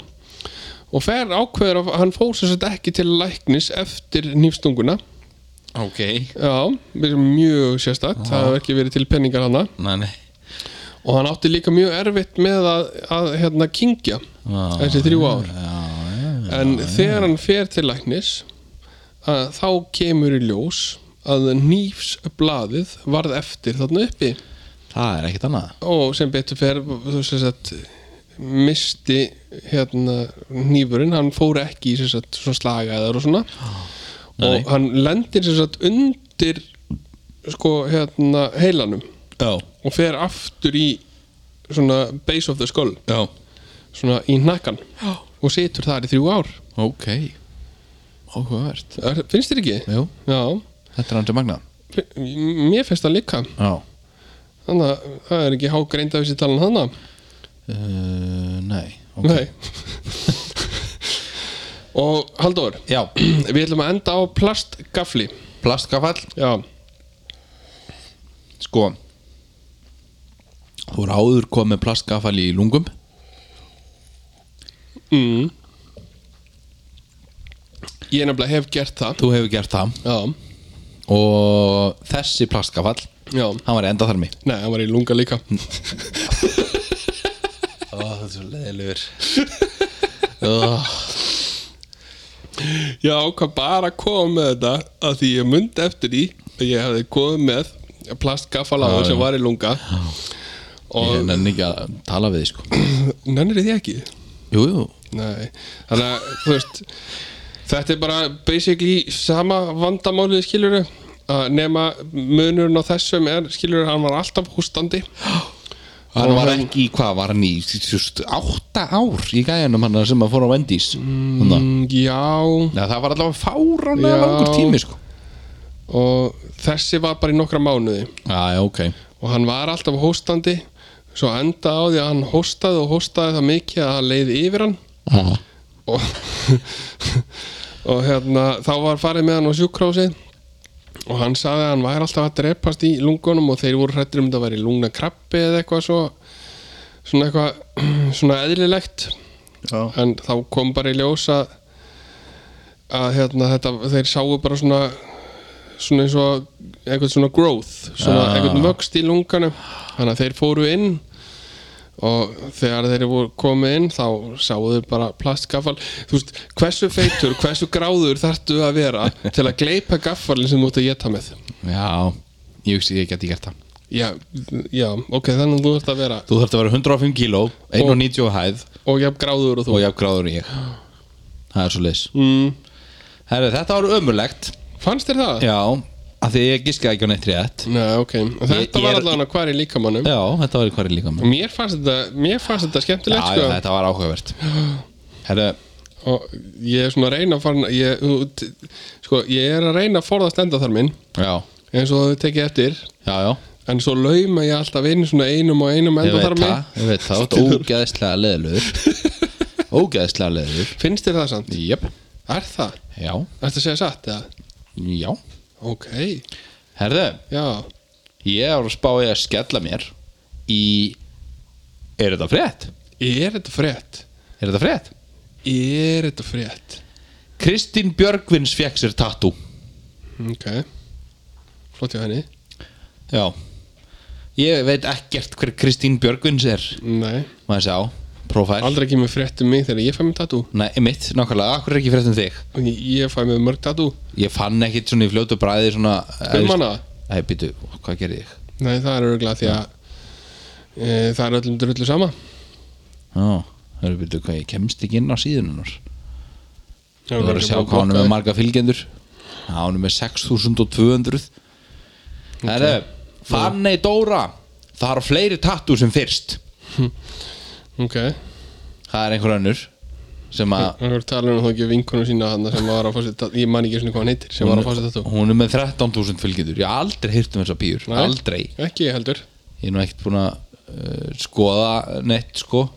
og fer ákveður að hann fór sem sagt ekki til læknis eftir nýfstunguna
Ok
já, mjög sérstakt það hefur ekki verið til penningar hana
Nei, nei
og hann átti líka mjög erfitt með að, að hérna kingja
Já,
þessi þrjú ár
já, já.
en þegar hann fer til læknis að, þá kemur í ljós að nýfsbladið varð eftir þarna uppi
það er ekkert annað
og sem betur fer þú sem sagt misti hérna nýfurinn, hann fór ekki í sem sagt svona slagaðar og svona
Ah, Nei.
og hann lendir sem sagt undir sko hérna heilanum
já,
og fer aftur í svona base of the skull
já,
svona í hnakkan og situr þar í þrjú ár
ok áhugavert
Er- finnst þér ekki?
Jú,
já,
þetta er hann til magna
Fi- mér finnst það líka
já
þannig að það er ekki hágreind af þessi talan hana
uh, nei, ok
nei og Halldór
já,
við ætlum að enda á plastgafli
plastgafall
já,
sko þú er áður komið með plastgafall í lungum
mm. ég nefnilega hef gert það
þú hefur gert það
já,
og þessi plastgafall
já,
hann var enda þarmi
nei, hann var í lunga líka
Ó, það er svo leðilegur
Já, hvað bara kom með þetta að því ég mundi eftir því að ég hefði komið með plastgafal á
Já,
sem
já.
var í lunga
Ég
og
nenni ekki að tala við þig sko
nennir því ekki
Jú, jú
Nei, þannig að þú veist þetta er bara basically sama vandamálið skilur að nema munurinn á þessum er skilur hann var alltaf hústandi
Hann
Og
var
hann-
ekki, hvað var hann í just, átta ár í gæjanum hann sem að fór á Wendy's mm.
Mm, Já,
ja, Það var allavega fáránlega
Já.
langur tími sko
og þessi var bara í nokkra mánuði
Já, já, ok
og hann var alltaf hóstandi svo enda á því að hann hóstaði og hóstaði það mikið að hann leiði yfir hann
ah.
og, og hérna þá var farið með hann á sjúkrási og hann sagði að hann væri alltaf að drepast í lungunum og þeir voru hrættir um þetta væri lungna krabbi eða eitthvað svo svona eitthvað svona eðlilegt
Já.
en þá kom bara í ljós að að hérna þetta þeir sáu bara svona svona eins og eitthvað svona growth svona
Já.
eitthvað vöxt í lunganum þannig að þeir fóru inn og þegar þeir voru komið inn þá sáu þau bara plastgaffal þú veist, hversu feitur, hversu gráður þarftu að vera til að gleypa gaffalin sem þú ert að geta með
Já, ég hugsi ég geti gert það
já, já, ok, þannig að þú ert að vera
Þú þarft að vera 105 kíló, 1,90 og hæð
og jafn gráður og þú
og jafn gráður en ég Það er svo leis
mm,
Herri, Þetta var ömurlegt
fannst þér það?
Já, af því ég giskaði ekki á neitt rétt
Nei, ok, þetta
Ég- ég
var
er-
allavega hvar í líkamannum
Já, þetta var í hverju líka
og mér fannst þetta, mér fannst þetta
Já,
skemmtilegt
já,
sko.
þetta var áhugavert Herri,
og ég er svona að reyna að fara ég, þú- t- sko, ég er að reyna að forðast enda þar minn
já,
eins og þau tekið eftir
já, já
en svo lauma ég alltaf inn svona einum og einum
Ég
enda
veit
þar minn
það, ég veit það, þú ert ógeðslega leðlur Ógeðslega leðlur
finnst þér það samt?
Jöp,
Er það?
já,
Ertu að segja satt eða?
já
Ok,
Herðu,
já
ég var að spá ég að skella mér í Er þetta frétt?
Er þetta frétt?
Er þetta frétt?
Er þetta frétt?
Kristín Björgvins fekk sér tattoo
Ok Flott hjá henni
Já Ég veit ekkert hver Kristín Björgvins er
Nei,
Maður sjá, profæl
aldrei ekki með frétt um mig þegar ég fæ mig tattoo
Nei, mitt, nákvæmlega, akkur er ekki frétt um þig
og ég- ég fæ mig mörg tattoo
Ég fann ekkit svona í fljótu bræði svona
Um hana?
Æ, býtu, hvað gerði ég?
Nei, það er örgulega því að e, það er öllum drullu sama
Já, það eru býtu hvað, ég kemst ekki inn á síðununar
Það
Ég var að sjá hvað hann er með marga fylgjendur Já, hann er með 6200 Það er Fanny Dóra Það har fleiri tattoo sem fyrst
Ok,
Það er einhver önnur sem að
hann voru tala um þá ekki vinkonum sína hann sem var að fá sér tattoo Ég man ekki svona hvað hann heitir sem var að fá sér tattoo
Hún er með 13.000 fylgjendur Ég hef aldrei hýrt um þessa pýr,
Nei.
aldrei
Ekki ég heldur
Ég er nú ekkert búin að uh, skoða neitt sko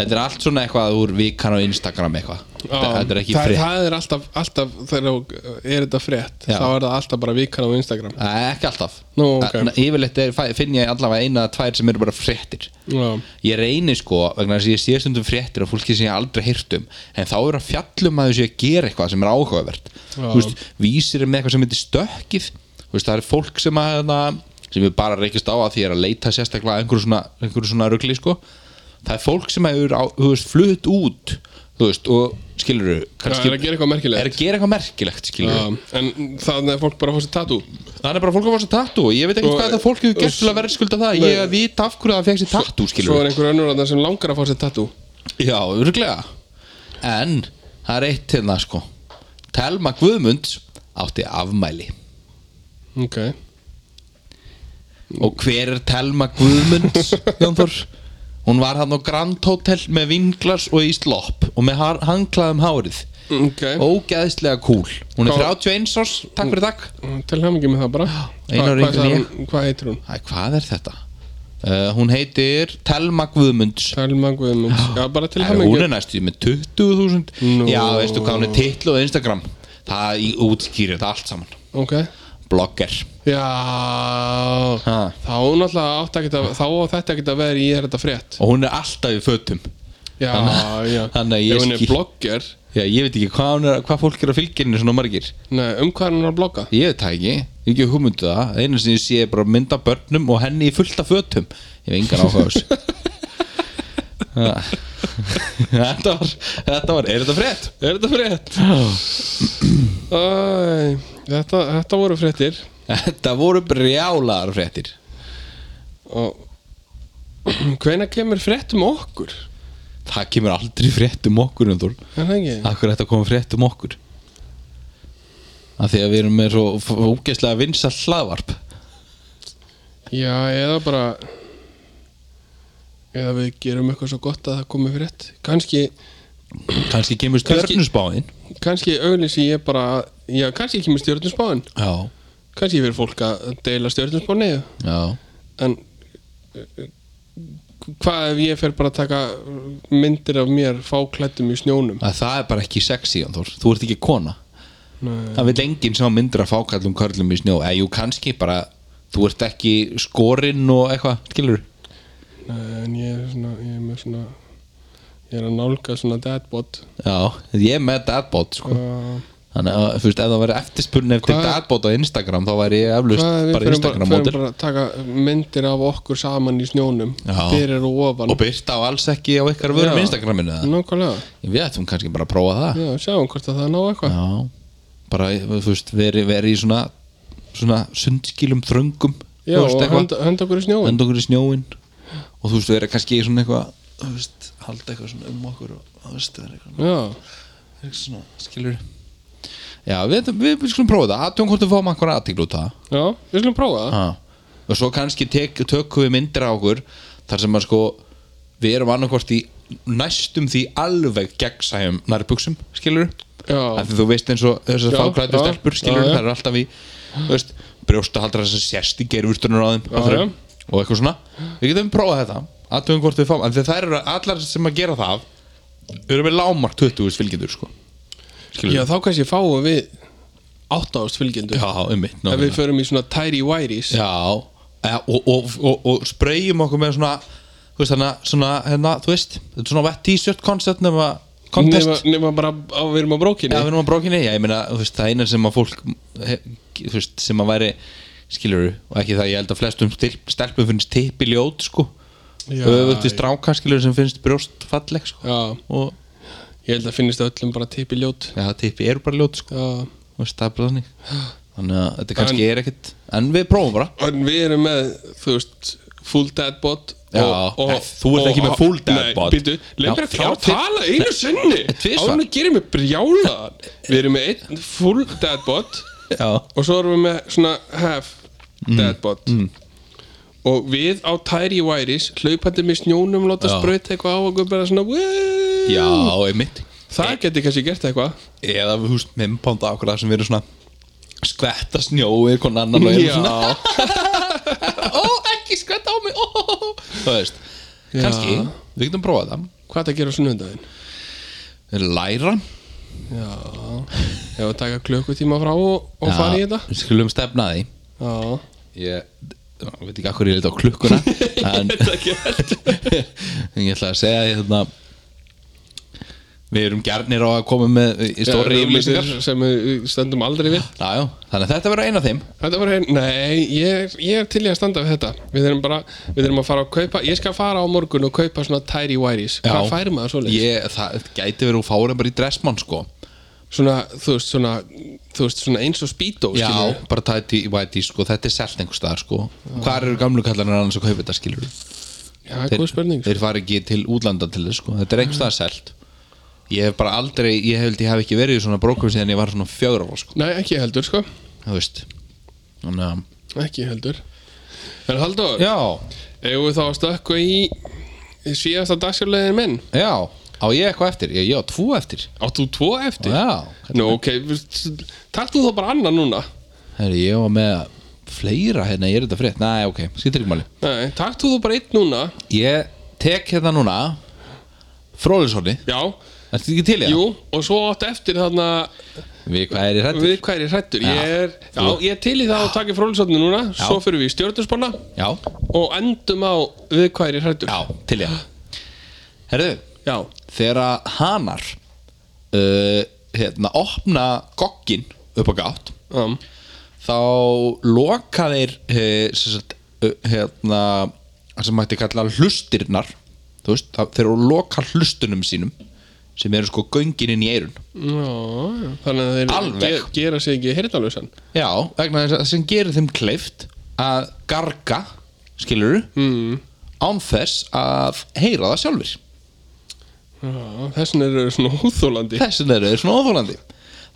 Þetta er allt svona eitthvað úr vikan á Instagram eitthvað Þetta þetta er ekki
Ah, það,
frétt
það er alltaf, alltaf þegar þú- er þetta frétt
Já.
þá er það alltaf bara vikan á Instagram
Nei, Ekki alltaf
Nú, ok.
Þa- Yfirleitt er, fæ- finn ég allavega eina eða tvær sem eru bara fréttir
Já,
Ég reyni sko, vegna þess að ég sé stundum fréttir af fólki sem ég aldrei heyrt um En þá eru að fjallum að þessu að gera eitthvað sem er áhugavert Þú veist, Vísir er með eitthvað sem heitir stökkið Þú veist, Það er fólk sem að hérna, sem ég bara reykist á að því ég er að leita sérstaklega að einhverju svona, einhverju svona rugli sko. það er fólk sem hefur á, þú veist, flutt út þú veist, og skilur
Það er að gera eitthvað merkilegt.
er að gera eitthvað merkilegt skilur
Já, en þannig að fólk bara fór sér tatú
Það er bara fólk að fá sér tattoo og ég veit ekkert
Svo-
hvað það fólk hefur gert til að verða skulda það
Sko, Nei.
Ég að vita af hverju það fekk sér tattoo skilur
Svo er einhver önnur þarna sem langar að fá sér tatú
Já, örglega En það er eitt hérna sko Telma Guðmunds átti afmæli
Ok
Og hver er Telma Guðmunds, Jónþór? Hún var hann á Grand Hotel með vinglas og í slopp og með har- handklæði um hárið
Ok
Ógeðslega kúl Hún er
Hvað-
31 árs, takk fyrir takk
Til hamingi með það bara Hvað-
Einar
hvað
yngri en
sagði hún- Hvað heitir hún?
Æ, hvað er þetta? Uh, hún heitir Telma Guðmunds
Telma Guðmunds Já, bara til
Er hún
hamingi
er næstu með 20.000
Nú.
Já, veistu hvað hún er titlu á Instagram Það í- útskýrir þetta allt saman
Ok
Blogger
Já
Ha.
Þá náttúrulega átt ekki að Þá á þetta ekki að vera í er þetta frétt
Og hún er alltaf í fötum
Já,
Þannig-
já
þannig að ég
Ef hún er
skil-
blogger
Já, ég veit ekki hvað, hún er, hvað fólk er að fylgja henni svona margir
Nei, um hvað er hún að blogga?
Ég veit það ekki, ég ekki hugmyndu það Einu sem ég sé er bara mynd af börnum og henni í fullta fötum Ég hef engan áhuga á þessu Ah. Þetta var, þetta var, er þetta frétt?
Er þetta frétt? Æ, þetta, þetta voru fréttir
Þetta voru brjálaðar fréttir
og hvenær kemur frétt um okkur
Það kemur aldrei frétt um okkur um þú
er það ekki?
Akkur þetta kom frétt um okkur Af því að við erum með svo f- ógeðslega vinsall hlaðvarp
já, eða bara eða við gerum eitthvað svo gott að það komi frétt kannski,
Kanski kemur
Kannski-
stjörnusbáðin
kannski auglýsi ég bara já, kannski ekki með stjórnusbáin
Já,
kannski fyrir fólk að deila stjórnusbáni
já
en eh, hvað ef ég fer bara að taka myndir af mér fáklættum í snjónum
að Það er bara ekki sexy Anþór. Þú ert ekki kona
Nei.
Það vil enginn sem á myndir að fákallum körlum í snjó Eða jú, kannski bara Þú ert ekki skorinn og eitthvað Skilur
Nei, en ég er svona ég er með svona ég er að nálga svona deadbot
Já, ég er með dadbot sko.
uh,
Þannig að, þú veist, ef það væri eftirspurni eftir
Hvað-
dadbot á Instagram þá væri ég eflust
Hvað ef við fyrir
bara
bara,
Instagram
fyrir
mótur
bara að taka myndir af okkur saman í snjónum
Já.
fyrir og ofan
og byrta á alls ekki á ykkar vörum
Já.
Instagraminu eða?
Nákvæmlega,
Við ættum kannski bara að prófa það
já, sjáum hvort að það ná eitthvað
Já, bara, þú veist, veri, veri í svona svona sundskilum þröngum
Já,
þú
og
veist,
henda, henda okkur í snjóin
henda okkur í snjóin og þú veist, vera kannski í svona eitthvað þú veist, halda eitthvað svona um okkur og þú veist, vera eitthvað,
Já,
eitthvað svona, skilur Já, við, við, við skulum prófa það aðtjóðum hvort við fáum eitthvað aðtíklu út af það
já, við skulum prófa það
ah. og svo kannski tek, tökum við myndir á okkur þar sem að sko við erum annarkvort í næstum því alveg gegnsæjum nærbuksum skilur
Já,
af því þú veist eins og þessar
Já,
fáklættu
já,
stelpur skilur
já, já.
það er alltaf í þú veist, brjóstahaldra þessar sérst í gerfurtunar á þeim á
Já,
þeim, og eitthvað svona við getum prófað þetta aðtöfum hvort við fáum af því þær eru allar sem að gera það eru með lámark 20 fylgjendur sko skilur
já, þá kannski fáum við 8000 fylgjendur
já um mitt
Ef við förum í svona tidy whities
Já, eh, og, og, og, og spreyjum okkur með svona þú veist, hana, svona, hérna, þú veist þetta er svona vett t-shirt concept nema contest
nema, nema bara að við erum á
Já, við
brókinni
erum á brókinni, já, ég meina, þú veist, það eina sem að fólk he, þú veist, sem að væri skiluru, og ekki það, ég held að flestum stil, stelpum finnst tippi ljót, sko
Já,
öfugt í
já.
stráka, skiluru, sem finnst brjóst falleg, sko,
Já,
og
ég held að finnist öllum bara tipi ljót
já, tippi eru bara ljót, sko,
Já,
þú veist, það er bara þannig þannig að þetta kannski er ekkit en við prófum bara
en við erum með, þú veist, full deadbot
Já, eh, þú ert ekki með full dead
Nei,
bot.
býtu, leið
Já,
mér að
þrjár
klára að tala einu sinni
tvisvar.
Áður en að gera mig brjálaðan Við erum með einn full deadbot
Já,
Og svo erum við með svona half
Mm.
deadbot Og við á Tæri Væris Hlaupandi með snjónum Láta
Já.
sprauta eitthvað á okkur bara svona "Woo!"
já, Eh. einmitt
Það geti kannski gert eitthvað
eða þú veist mimpanda okkur það sem við erum svona skvetta snjó við konan annan og erum svona ó ekki skvetta á mig ó, ó, ó. þú veist
Já.
kannski við getum prófað það
Hvað það gera á sunnudaginn?
læra
Já Ef að taka klukkutíma frá og, og fara í
Já,
þetta
við skulum stefna að því
Já
ég ég veit ekki akkur ég leit á klukkuna en
Þetta gert
en ég ætla að segja því þarna Við erum gjarnir á að koma með í stóri
Eða hugmyndir
yfirlýsingar
Eh, sem við stöndum aldrei við
Jájá, þannig að þetta verður eina af þeim
Þetta var einn, nei, ég, ég er til í að standa við þetta Við erum bara, við erum að fara að kaupa Ég skal fara á morgun og kaupa svona tidy wiries Hvað
Já.
fær maður svo leið?
ég, Það gæti verið að fára bara í dressmann sko
Svona, þú veist, svona, þú veist, svona eins og speedo
Já,
skilurðu.
bara tæti í væti sko Þetta er selt einhver staðar sko Hvar eru gamlu kallarnir annars að kaupa þetta skilur
Já, það er góð spurning sko.
Þeir fara ekki til útlanda til þess sko Þetta er einhver staðar selt Ég hef bara aldrei, ég held ég hef ekki verið í svona brókum síðan ég var svona fjögur ára sko
Nei, ekki heldur, sko
Það veist Þannig að
Ekki heldur En Halldór,
Já,
eigum við þá að stökku í, í síðasta dagsjárlegin minn
já, á ég eitthvað eftir Ég, já, tvo eftir
Áttu tvo eftir?
Já,
Nú, ok, takk þú þá bara annan núna
Herri, ég var með fleira hérna, ég er þetta frétt Nei, ok, skýttir ekki máli
Nei, takk þú þá bara einn núna
Ég tek hérna núna Fróðurssoni
Já,
Ertu ekki til ég?
Jú, og svo átt eftir þarna
Við hvað er í rættu?
við hvað er ég hrættur ég er, já, ég er til í það að taka frólisotni núna svo fyrir við í stjórnusbóna
Já,
og endum á við hvað er ég hrættur
já, til ég Herðu,
já,
þegar að hanar uh, hérna, opna gogkin upp á gátt
um,
þá loka þeir eh, sem sagt, eh, hérna það sem mætti kalla hlustirnar þú veist, þá- þeir eru að loka hlustunum sínum sem eru sko göngin inn í eirun
já, já. þannig að þeir
Alveg.
ge gera sig ekki hirtalösan
Já, vegna þess að það sem gerir þeim kleift að garga, skilur
mm.
án þess að heyra það sjálfur
já, þessin eru þeir svona húþólandi
þessin eru þeir svona óþólandi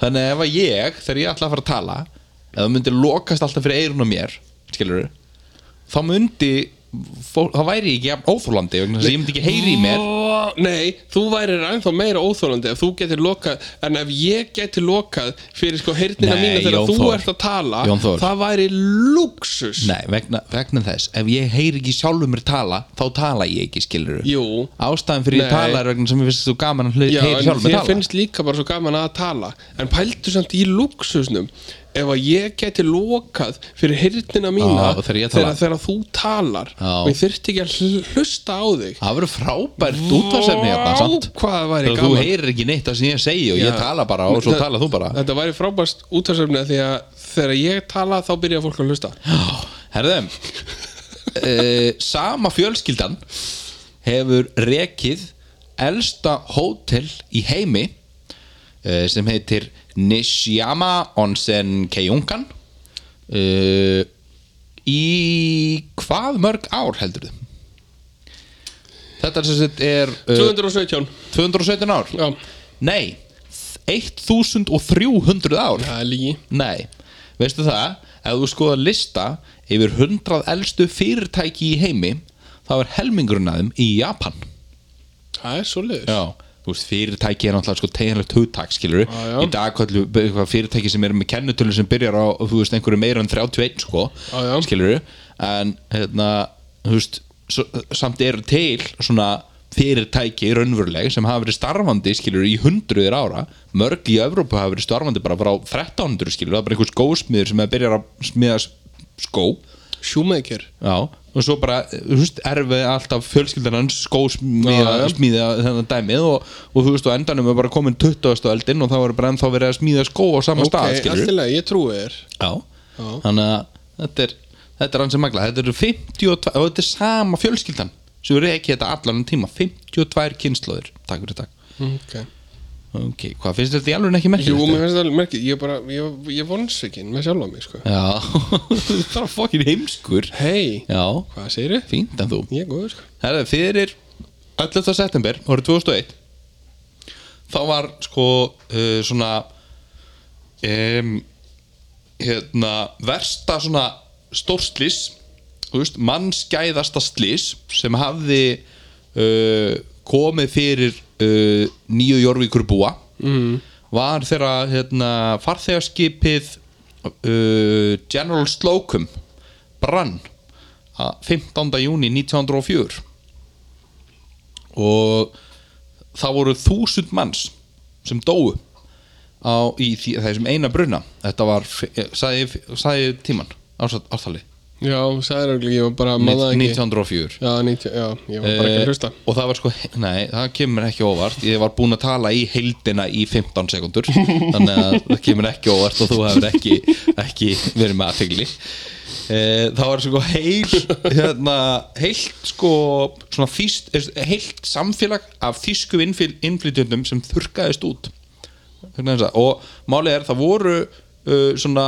þannig að ef að ég, þegar ég ætla að fara að tala ef það myndi lokast alltaf fyrir eirun á mér skilur þá myndi fó, þá væri ég ekki jafn óþólandi vegna þess að ég myndi ekki heyri í mér
Ó, Nei, þú værir ennþá meira óþólandi ef þú getur lokað, en ef ég getur lokað fyrir sko heyrnina
Nei,
mína þegar
Jón
þú
Þór.
ert að tala
Jón Þór.
það væri luxus
Nei, vegna, vegna þess, ef ég heyri ekki sjálfur mér tala, þá tala ég ekki, skilur
Jú,
Ástæðan fyrir
Nei.
ég tala er vegna sem ég finnst þú gaman að hlu-
Já,
heyra
en
sjálfur mér
þér
tala
finnst líka bara svo gaman að tala En pældu samt í luxusnum Ef að ég geti lokað fyrir hirtina mína
Já, þegar ég
þegar,
tala.
þegar þú talar
Já.
Og ég þyrfti ekki að hl- hlusta á þig
Það verður frábært útvarsefni hérna,
Vá,
samt
hvað það væri
Þegar
gaman.
þú heyrir ekki neitt það sem ég segi og
Já.
ég tala bara og svo
Þa-
tala þú bara
Þetta væri frábært útvarsöfni Því að þegar ég tala þá byrja fólk að hlusta
Eh. Herðum uh, Sama fjölskyldan hefur rekið elsta hótel í heimi uh, sem heitir Nishiyama Onsen Keiyunkan uh, Í hvað mörg ár heldur þið? Þetta er, sem sagt er uh,
217
217 ár
Já,
Nei, 1300 ár
það er lígi
Nei, veistu það ef þú skoðar lista yfir 100 elstu fyrirtæki í heimi þá er helmingurinn að þeim í Japan
Það er svoleiðis
Já Þú veist, fyrirtæki er náttúrulega sko teginlegt hugtak, skilur
Já, já.
Í dag kallu eitthvað fyrirtæki sem er með kennutölu sem byrjar á, þú veist, einhverju meira en 31, sko
Já, já.
Skilur En, hérna, þú veist, svo, samt eru til svona fyrirtæki raunveruleg sem hafa verið starfandi, skilur, í hundruðir ára Mörg í Evrópu hafa verið starfandi bara frá 1300, skilur, það er bara einhvers góðsmiður sem byrjar að smiða s- skó
Shoemaker
Já, og svo bara, þú veist, erfið alltaf fjölskyldan hans skósmíða
Já, já.
smíða þennan dæmið og, og þú veist, og endanum er bara komin 20. öldin og þá er bara ennþá verið að smíða skó á sama
Ok,
stað, skilur
alltilega, ég trúi þér
Já,
Já.
þannig að þetta er, þetta er hans sem magla, þetta eru 52 og þetta er sama fjölskyldan sem við reikið þetta allan um tíma, 52 kynnslóðir takk fyrir takk,
Ok
ok, hvað finnst þetta í alveg ekki merkið?
Jú, mér finnst það merkið Ég er bara, ég, ég vonsvikinn með sjálf á mig, sko
Já, þetta er fokkin heimskur
Hei,
Já,
hvað segirðu?
fínt en þú
Ég er góður sko
Það er fyrir 11. september árið 2001 þá var sko uh, svona um, hérna versta svona stórslis veist, mannskæðasta slis sem hafði uh, komið fyrir uh, nýju jórvíkur búa mm. var þeirra hérna, farþegarskipið uh, General Slocum brann að 15. júni 1904 og það voru þúsund manns sem dóu eh, á, í því, þessum eina bruna þetta var, sagði, sagði tíman ásat, ártali
Já, sagði röglega, ég var bara að maða ekki
1904
Já, 90, já, ég var bara ekki að hlusta
Eh, og það var sko, nei, það kemur ekki óvart ég var búinn að tala í heildina í 15 sekundur þannig að það kemur ekki óvart og þú hefur ekki, ekki verið með aðtegli eh, það var sko heil hérna, heilt sko svona þýst, eh, heilt samfélag af þýsku innflyl- innflytjöndum sem þurrkaðist út Vegna þess að- og málið er það voru uh, svona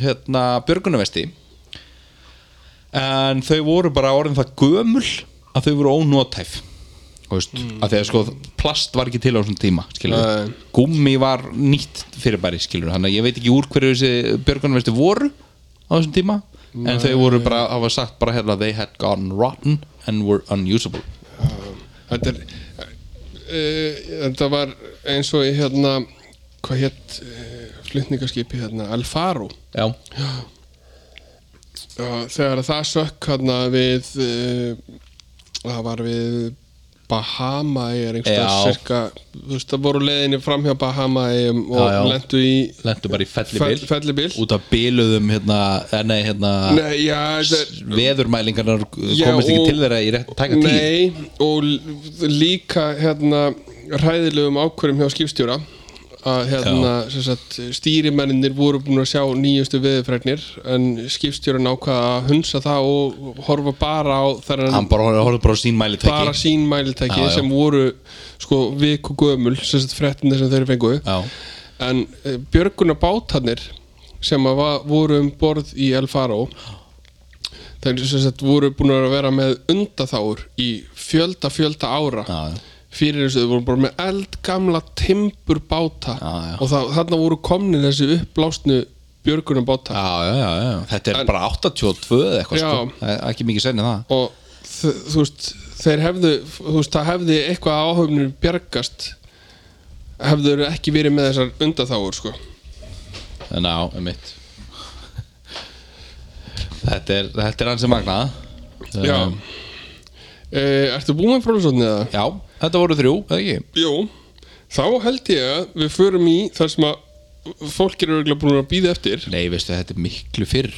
hérna, björgunarvesti en þau voru bara orðin það gömul að þau voru ónótæf þú veist, að því að sko plast var ekki til á þessum tíma skilur
Nei.
gummi var nýtt fyrirbæri skilur þannig að ég veit ekki úr hverju þessi björgunarvesti voru á þessum tíma en þau voru bara, það var sagt bara hérna they had gone rotten and were unusable
Þetta er uh, Þetta var eins og í hérna Hvað hétt uh, flutningaskipi hérna Alfaro
já,
Já, Þegar það sökk hérna við uh, Það var við Bahama er einhverstað
Já.
cirka Þú veist, það voru leiðinni fram hjá Bahama og
Já, já.
lendu í
lendu bara í
fell-
fellibil
fellibíl
út af biluðum hérna, eh, nei, hérna
Nei, já, þetta er
veðurmælingarnar
Já,
komist ekki
og-
til þeirra í rétt taka tíð
Nei, og l- líka hérna ræðilegum ákvörðum hjá skipstjóra að hérna, sem sagt, stýrimennir voru búin að sjá nýjustu veðurfregnir en skipstjóran ákvaða að hunsa það og horfa bara á
hann
þennan
bara horfði- horfði bara á sín
bara
mælitæki
sín mælitæki
Já, já.
sem voru sko viku gömul sem sagt frettinir sem þeir fengu
já,
en björguna bátarnir sem að va- voru um borð í El Faro þeir sem sagt voru búin að vera með undatháur í fjölda fjölda ára
já, já.
fyrir þessu, þau voru bara með eldgamla timbur báta
Já, já.
og það, þarna voru komnir þessi uppblásnu björguna báta
já, já, já, já. þetta er bara 82 eða eitthvað sko.
Já.
Það er ekki mikið senni það
og þ- þú veist þeir hefðu, þú veist það hefði eitthvað áhöfnir bjargast hefðu þeir ekki verið með þessar undatháur sko
en á, um mitt þetta er, þetta er hans sem magnað
já
Um,
Uh, ertu búin með frólusotni eða?
já, þetta voru þrjú, eða ekki
Jú, þá held ég að við förum í þar sem að fólk eru örgulega búin að býða eftir
nei, veistu, þetta er miklu fyrr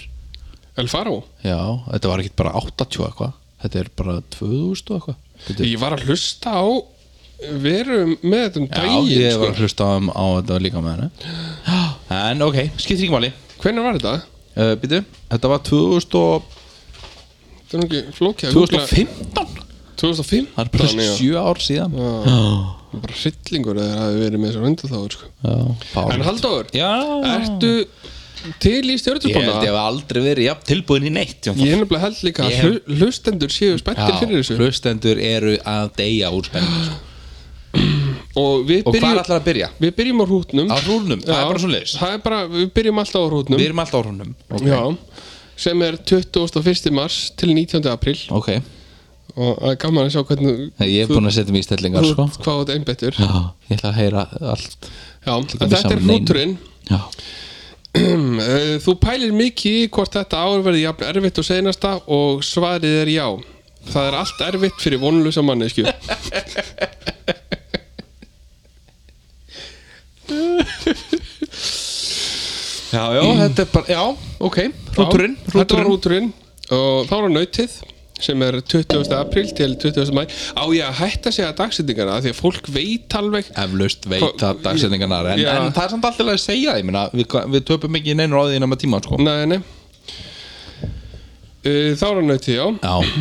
El Faro.
já, þetta var ekki bara 80 eitthvað þetta er bara 2000 og eitthvað Þetta er-
Ég var að hlusta á verum með þetta um
já,
daginn
ég var
sko.
að hlusta á, á þetta líka með henni en ok, skiptir ekki máli
Hvenær var þetta?
uh, býtu, þetta var 2000 og
Þetta er nú ekki flókið að googla.
2015 Það er bara
2015 já.
sjö ár síðan
Já, bara hryllingur eða það hafi verið með þessar undatháður sko. En
Já,
Halldór,
Já.
ertu til í
Ég held ég
stjórnusbóna?
hef aldrei verið jafn, tilbúin í neitt Jón Þór.
Ég er nefnilega held líka að
Ég
hlu- hlustendur séu spettir fyrir þessu
hlustendur eru að deyja úr spenningu sko.
Og við
Og hvað
byrjum,
er allar að byrja?
við byrjum á hrútnum
Á hrúnum, það
Já,
er bara svo leiðis
það er bara, við byrjum alltaf á hrútnum
Við erum alltaf á hrúnum
Já, sem er 21. mars til 19. april
Ok,
og það er gaman að sjá hvernig
ég er
þú-
búin að setja mig í stellingar
þú-
sko.
hvað þetta einbettur
Já, ég ætla að heyra allt
Já, en
að
þetta
missa
er
neinu.
hrúturinn
Já,
Eh, Þú pælir mikið í hvort þetta ár verði jafn erfitt og seinasta og svarið er já Það er allt erfitt fyrir vonlusa manneskju
já, já þetta er bara, já, ok Hrúturinn,
Já, Þetta var
hrúturinn
hrúturinn og þá er hann nautið sem er 20. april til 20. mæ Á ég að hætta að segja dagsetningarna af því að fólk veit alveg
Eflaust
Hva-
veit að dagsetningarnar en,
Já.
en það er samt alltaf að segja það, ég meina Við, við töpum ekki í neinu ráðið innan með tíma sko.
Nei, nei Uh, Þá er hann nautið, já
Já,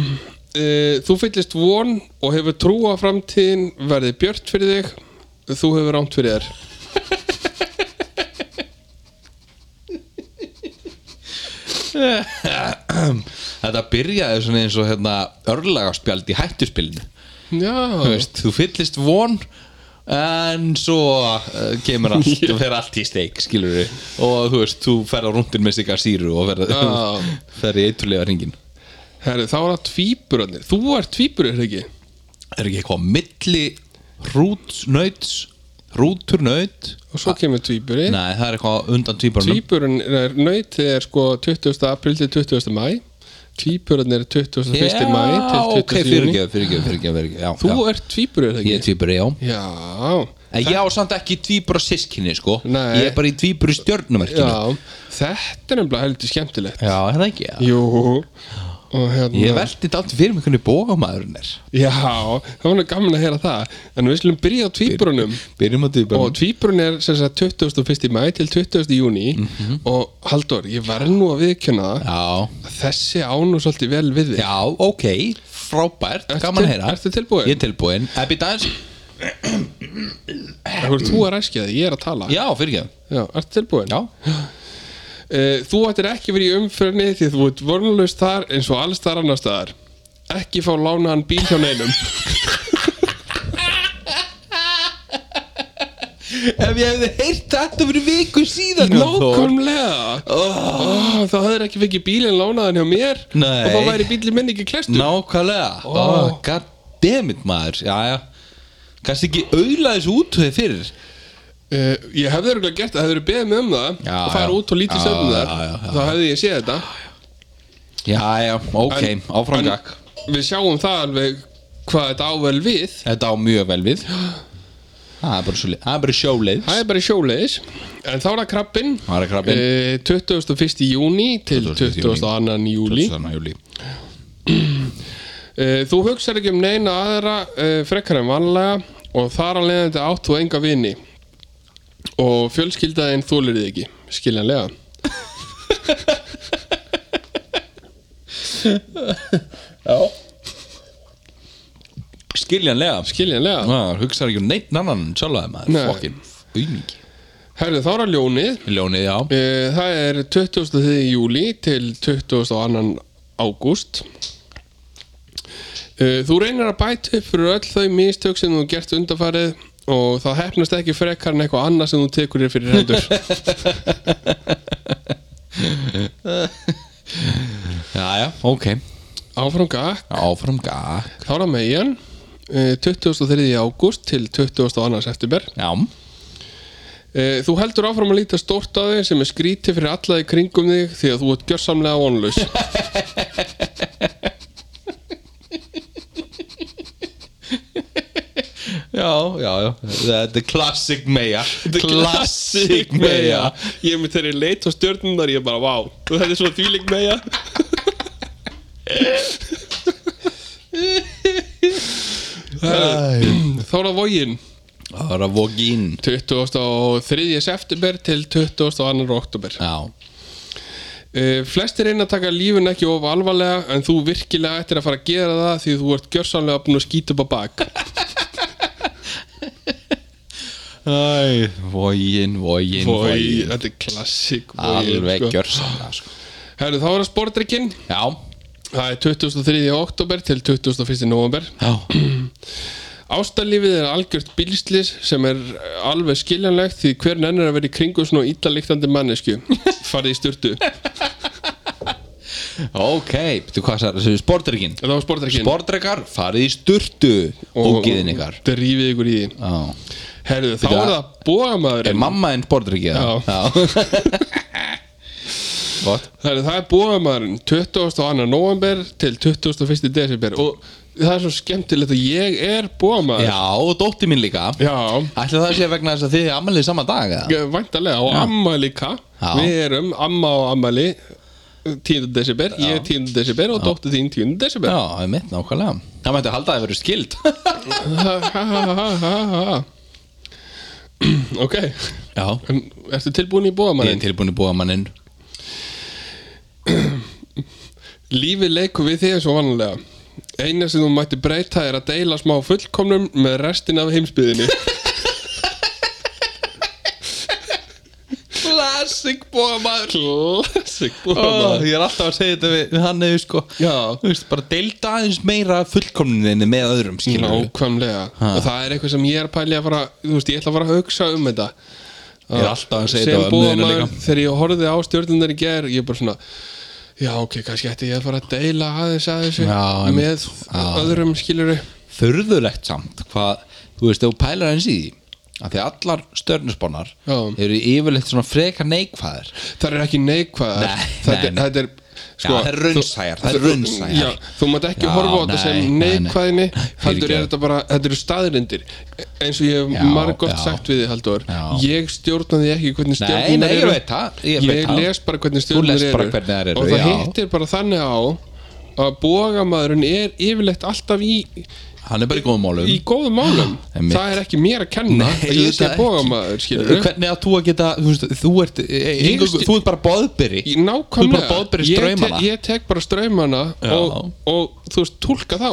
Uh, Þú fyllist von og hefur trú á framtíðin verði björt fyrir þig Þú hefur rámt fyrir þér
Þetta byrjaði svona eins og hérna, örlagaspjald í hættuspilinu Þú
Já,
veist, þú fyllist von en svo uh, kemur allt og fer allt í steik, skilur við og þú veist, þú ferð á rúndin með sigar síru og ferð,
Já.
ferð í eitrulega ringin
herri, þá er það tvíburarnir Þú ert tvíburur, ekki?
Er ekki eitthvað á milli hrútsnauts hrúturnaut
Og svo kemur tvíburi
Nei, það er eitthvað á undan tvíbrunum
Tvíburun er nautið er sko 20. april til 20. mæ Tvíburarnir er 21. mæ til 20.
ok, fyrirgeðu, fyrirgeðu, fyrirgeðu, fyrirgeðu já,
Þú
já.
ert tvíburur,
Ég
ekki?
er tvíburi, já
Já,
en ég á samt ekki tvíbura sískinni sko
Nei.
ég er bara í tvíbura stjörnumerkinu já,
Já, þetta er nefnilega heldur skemmtilegt
er það ekki já.
Jú og hérna,
ég veldi þetta alltaf fyrir mig hvernig bógamaðurinn er
Já, það var nú gaman að heyra það En við slum byrja á tvíburunum
byrjum að
Og
tvíbura
tvíburun er sem sagt 21. mæ til 20. júni Og Halldór, ég verð nú að viðkjöna það
Mhm. já,
að Þessi án og svolítið vel við þig
já, ok, frábært
Ertu
gaman
til-
að heyra
ertu tilbúin?
ég er tilbúin Ebbi Dans
Þú ert þú að ræskja þig, ég er að tala
já, fyrir ekki
Já, ertu tilbúin?
já
Eh, Þú ættir ekki verið í umfyrni því þú ert vonlust þar eins og alls þar annar staðar Ekki fá lánaðan bíl hjá neinum
ef ég hefði heyrt þetta fyrir viku síðan Þór.
Nákvæmlega oh. Þá hefur ekki fengið bílinn lánaðan hjá mér
Nei.
Og þá væri bílinn minn ekki klestur
nákvæmlega
Ó.
oh. god damn it maður já, já kannski ekki auðla þessu útvöði fyrir
Uh, ég hefði örgulega gert það, hefði verið beðið mig um það
Já,
og fara
já.
út og lítið
Já,
sögum þar
já, já, já.
þá hefði ég séð þetta
já, já, ok,
En-
áfram
en
gakk
Við sjáum það alveg hvað þetta ável við
Þetta á mjög vel við Það er bara, svo, það er bara sjóleið
Það er bara sjóleiðis En þá er það krabbin
Það er krabbinn.
Eh, 21. júni til
21. júní.
22. júli
júli
Eh, Þú hugsar ekki um neina aðra uh, frekar en vanlega og þar að leiðandi átt þú enga vini og fjölskyldaðin þúlir þig ekki, skiljanlega
Skiljanlega
skiljanlega
Það hugsaði ekki um neitt annan sjálfaði maður
Nei.
Fokkin Úmík
Herðu þá er að ljónið
Ljónið, já
Eh, Það er 20. júli til 22. ágúst Eh, Þú reynir að bæta upp fyrir öll þau mistök sem þú hefur gert undanfarið og það hefnast ekki frekar en eitthvað annað sem þú tekur þér fyrir hendur
Já, já, ok
Áfram gakk,
Áfram gakk
þá er að megin eh, 23. ágúst til 22. september
Já
Eh, Þú heldur áfram að líta stórt á þig sem er skríti fyrir alla í kringum þig því að þú ert gjörsamlega vonlaus
Já, já, já Þetta er classic meja Classic meja
meja Ég er með þeirri leit og stjörnunar Ég er bara, vá, þetta er svo þvílik meja Eh, Þá er það vógin
Það var að vogi inn
23. september til 22. oktober
Já
uh, Flestir reyna að taka lífin ekki of alvarlega En þú virkilega ættir að fara að gera það Því þú ert gjörsamlega búin að skýta upp á bak
Æ Vogin,
Vogi,
vogin, vogin
þetta er klassik
Alveg gjörsamlega sko.
Herru, þá er það spordrykkin
Já
Það er 23. oktober til 21. november
Já
Ástalífið er algjört bílslis sem er eh, alveg skiljanlegt því hver nennir að vera í kringum svona íllaliktandi mannesku farið í styrtu Þetta
Ok, betur hvað það er Sportrykkin
var sportrekkin
Sportrekkar, farið í sturtu Ógiðin ykkar
Drífið ykkur í því
Já.
Herðu, þá
Veitu
er
það?
það bóamaður
Er mamma einn sportrekkið?
Já.
Já. Gott
Herðu, það er bóamaðurinn 22. november til 21. desember og það er svo skemmtilegt að ég er bóamaður
Já, og dótti mín líka
Já,
Ætli það sé vegna þess að þið ammælið sama dag eða?
væntalega og amma líka
Já.
Við erum amma og ammali 10. desember, ég er 10. desember og dóttir þín 10. desember
Já, það er mitt nákvæmlega Það mætti halda að það verið skild
Ha, ha, ha, ha, ha, ha. Ok
Já
En Ertu tilbúin í
Ég er
bóðamanninn?
tilbúin í búa mannin
Lífið leikur við þig eins og vanlega Eina sem þú mætti breyta er að deila smá fullkomnum með restin af heimsbyðinni
Classic búa maður
Klassik
Ó,
bóðamann
Ég er alltaf að segja þetta við, við hann eða sko
Já,
Þú veist, bara deilda aðeins meira fullkomninni með öðrum skilur
nákvæmlega Og það er eitthvað sem ég er að pæli að fara Þú veist, ég ætla að fara að hugsa um þetta
Ég er alltaf að segja
Sem
þetta á ömmuðinu
bóðamann,
líka.
þegar ég horfði á stjórnundar í ger Ég er bara svona Já, ok, kannski ætti ég að fara að deila aðeins að þessu
Já, einmitt.
Með öðrum skiluru
förðulegt samt hvað, þú veist, ef þú pælar eins í því að því allar stjörnusbánar
Já.
eru yfirleitt svona frekar neikvæðir
Það er ekki neikvæðar
Nei,
þetta,
nei, nei.
þetta er Sko,
það er raunsæjar, það er
þú-
raunsæjar.
já, þú mátt ekki
Já,
horfa á þetta
nei,
sem
nei, nei.
neikvæðni heldur
fyrirgefðu.
er þetta bara, þetta eru staðrindir eins og ég
Já,
hef margótt
já.
sagt við þið Halldór
Já.
ég stjórnaði ekki hvernig
Nei,
stjórnar
nei, ég
eru
veit það Ég,
ég,
veit það.
les bara hvernig
Þú
stjórnar
lest bara
eru,
hvernig þær eru,
og það
já.
hittir bara þannig á að bógamaðurinn er yfirleitt alltaf í,
Hann er bara í góðum málum
í góðum málum
Einmitt.
það er ekki mér að kenna
Nei,
að ég
auðvitað
sé
ekki.
bógamaður skilur
Hvernig að þú að geta Þú, veist, þú, ert, e, engu,
sti-
þú ert bara boðbyrri
Í- Nákvæmlega,
Þú bara boðberir
Ég te-
straumana.
ég tek bara ströymana
Já.
og, og þú veist, tólka þá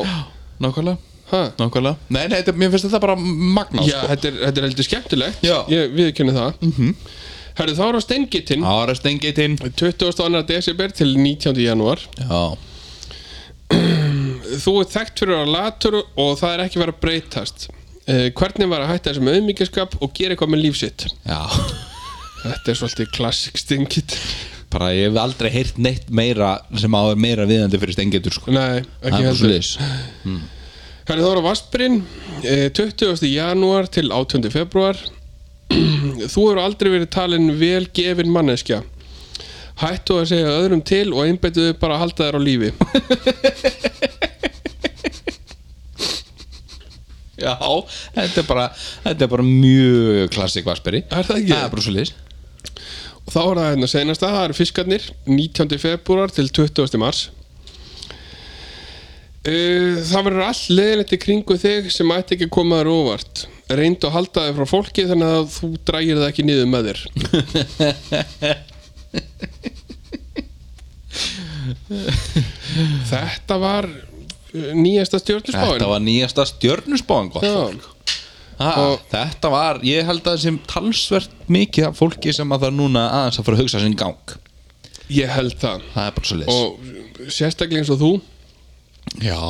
Nákvæmlega
ha.
Nákvæmlega Nei, nei, þetta, mér finnst þetta bara magna
Já,
sko.
þetta er, þetta er heldur skemmtilegt
Já. Mhm.
Ég viðkynni það mm -hmm. Herðu, þá er á steingitinn
Ára stengitinn
22. desember til 19. januar
Já,
Þú ert þekkt fyrir að latur og það er ekki verið að breytast uh, Hvernig var að hætta þessum auðmyggiskap og gera eitthvað með líf sitt
já
Þetta er svolítið klassik steingit
Bara ég hef aldrei heyrt neitt meira sem á er meira viðandi fyrir stengitur sko.
Nei,
Það
ekki
er bara
heldur
svoleiðis.
Herri Þóra Vaspurinn, 20. janúar til 18. februar Þú eru aldrei verið talin vel gefin manneskja Hættu að segja öðrum til og einbættu þau bara að halda þér á lífi
Já, þetta er bara Þetta er bara mjög klassik vasperi
Er það ekki?
Það er bara svo liðs
Og þá er það hérna senast að það eru fiskarnir 19. februar til 20. mars Uh, Það verður allt leðilegt í kringu þig sem ætti ekki að koma þér óvart Reyndu að halda þig frá fólki þannig að þú drægir það ekki niður með þér Þetta var uh, nýjasta stjórnusbáin
Þetta var nýjasta stjörnusbáin gott fólk. Ha,
Og-
Þetta var, ég held að sem talsvert mikið af fólki sem að það er núna aðeins að fara að hugsa sinn gang
Ég held það
Það er bara svo leis
Og sérstaklega eins og þú
Já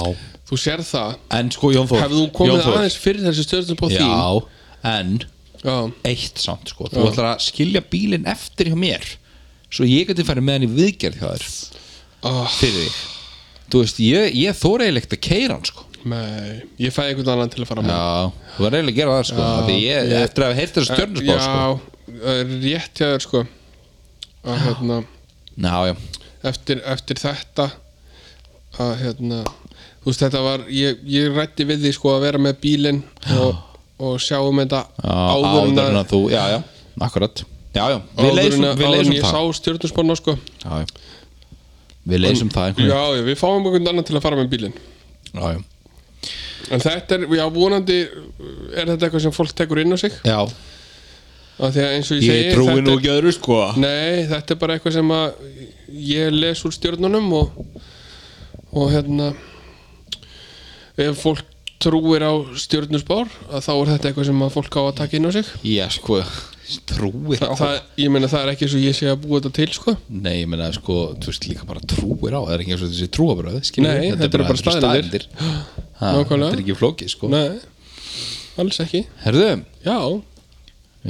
Þú sér það
En sko Jón Þór
Hefðu þú
Jón
komið
Þór,
aðeins fyrir þessi stjórnusbá þín
Já, en
Já,
eitt samt sko Þú ætlar að skilja bílinn eftir hjá mér Svo ég geti farið með hann í viðgerð hjá þér
oh,
Fyrir því Þú veist, ég, ég þóra eiginlega ekkert að keira hann sko
nei, ég fæ einhvern annan til að fara með
Já, þú var eiginlega að gera það sko af Því ég,
ég- Eh,
eftir að hafa heyrt þessu stjörnusbá sko
Já, það er rétt hjá þér sko að hérna
Já, já,
eftir, eftir þetta að hérna þú veist þetta var, ég, ég rætti við því sko að vera með bílinn og, og sjáum þetta
já áður en að þú Já, já, akkurat Já, já, við
áður en
leysum,
að- áður
við
en
leysum
ég
það
sá stjórnusbána sko
já, já. Við leysum það einhvern
já, já, við fáum einhvern annan til að fara með bílinn
veginn já, já.
en þetta er, já vonandi er þetta eitthvað sem fólk tekur inn á sig
já.
af því að eins og ég,
Ég
segi
trúi
þetta
nú
er-
ekki öðru sko
Nei, þetta er bara eitthvað sem að ég les úr stjórnunum og, og hérna ef fólk trúir á stjórnusbár að þá er þetta eitthvað sem að fólk á að taka inn á sig
Já sko, trúir á
það, ég meina það er ekki eins og ég sé að búa þetta til sko.
Nei, ég meina sko, þú veist líka bara trúir á Það er ekki eins og þessi trúabröð
Nei, þetta eru bara staðreyndir.
Þetta
Nákvæmlega.
er ekki flókið sko
Nei, alls ekki
Herðu,
Já,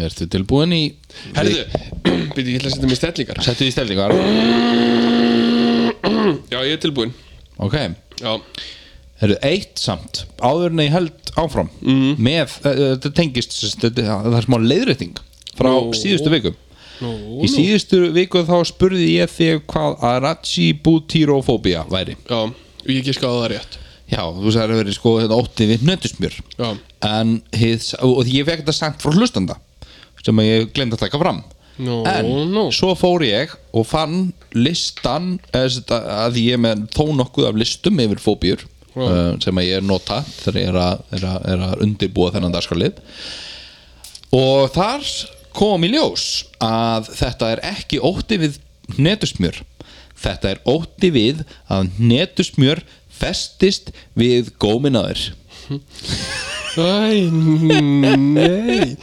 ertu tilbúin í
herðu Býtti, ég ætla að setja mig í stellingar
Settu í stelningar
Já, ég er tilbúin
Ok,
Já,
herðu, eitt samt Áður en ég held áfram mm.
Mhm.
Með, eh, eh, þetta tengist sem sagt, þetta- Það er smá leiðrétting Frá
Nú.
síðustu vikum
nú,
Í
nú
síðustu viku þá spurði ég þig hvað Arachi Butirofobia væri.
Já, ég ekki skáða það rétt
Já, þú sagði að verið sko þetta ótti við nötusmjör.
Já,
En hið, og ég fekk þetta sendt frá hlustanda sem að ég glemd að taka fram.
Nú,
en
nú.
svo fór ég og fann listan eða sem sagt að ég er með þó nokkuð af listum yfir fóbíur
Já.
uh, sem að ég nota þegar ég er að, er að, er að undirbúa þennan dagskarlið og þar kom í ljós að þetta er ekki ótti við netusmjör þetta er ótti við að netusmjör festist við góminaður
Æ, nei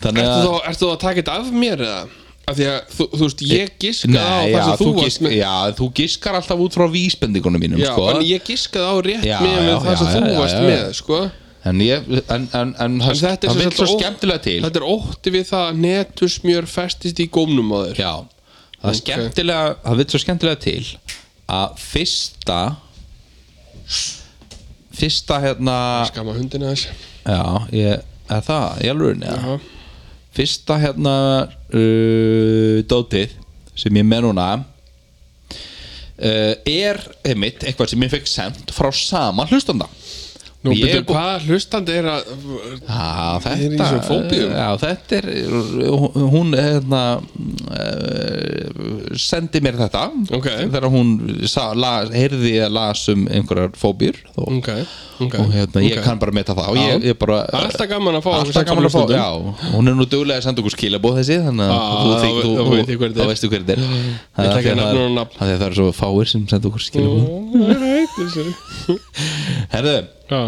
þannig
Ertu
að
þá, ertu þá að taka þetta af mér eða? Af því að þú, þú veist, ég giskaði á
Nei,
það
já,
sem þú
þú,
varst
gisk,
með
já, þú giskar alltaf út frá vísbendingunum mínum
Já,
sko.
en ég giskaði á rétt
Já,
með
já,
það sem
já,
þú
já,
varst
já, já.
með, sko
En, ég, en, en, en,
En þetta er
það
sem
vil
sagt
svo
ó-
skemmtilega til
Þetta er ótti við það að netusmjör festist í gómnum á þér
Já, það er
Ok.
skemmtilega það vil svo skemmtilega til að fyrsta fyrsta hérna
Skama hundina þess
já, ég, er það, ég alveg neða
Já,
fyrsta hérna uh, dótið sem ég er með núna uh, er einmitt eitthvað sem ég fekk sendt frá sama hlustanda
Nú,
Og ég
betur,
er bú-
hvað hlustandi er að
Já, þetta
er í þessum fóbíum.
Já, þetta er hún hérna eh, sendi mér þetta
Ok.
þegar hún sa, las, heyrði að las um einhverjar fóbíur og,
Ok, ok
og hérna, ég
ok.
kann bara meta það og
Já.
ég, ég bara
Það er alltaf gaman að fá okkur
Alltaf
sex
gaman að fá,
hlustendum.
já, hún er nú duglega að senda okkur skilabóð þessi þannig
Ah,
að þú
þá-
þig-
þá
þú-
veit ég hver þetta
þú-
er.
þá veistu hver þetta er
Ég ætla ekki að
Það
nefna
er
nú nafn.
af því að það eru svo fáir sem senda okkur skilabóð
Alright, Mm.
Herðu,
Já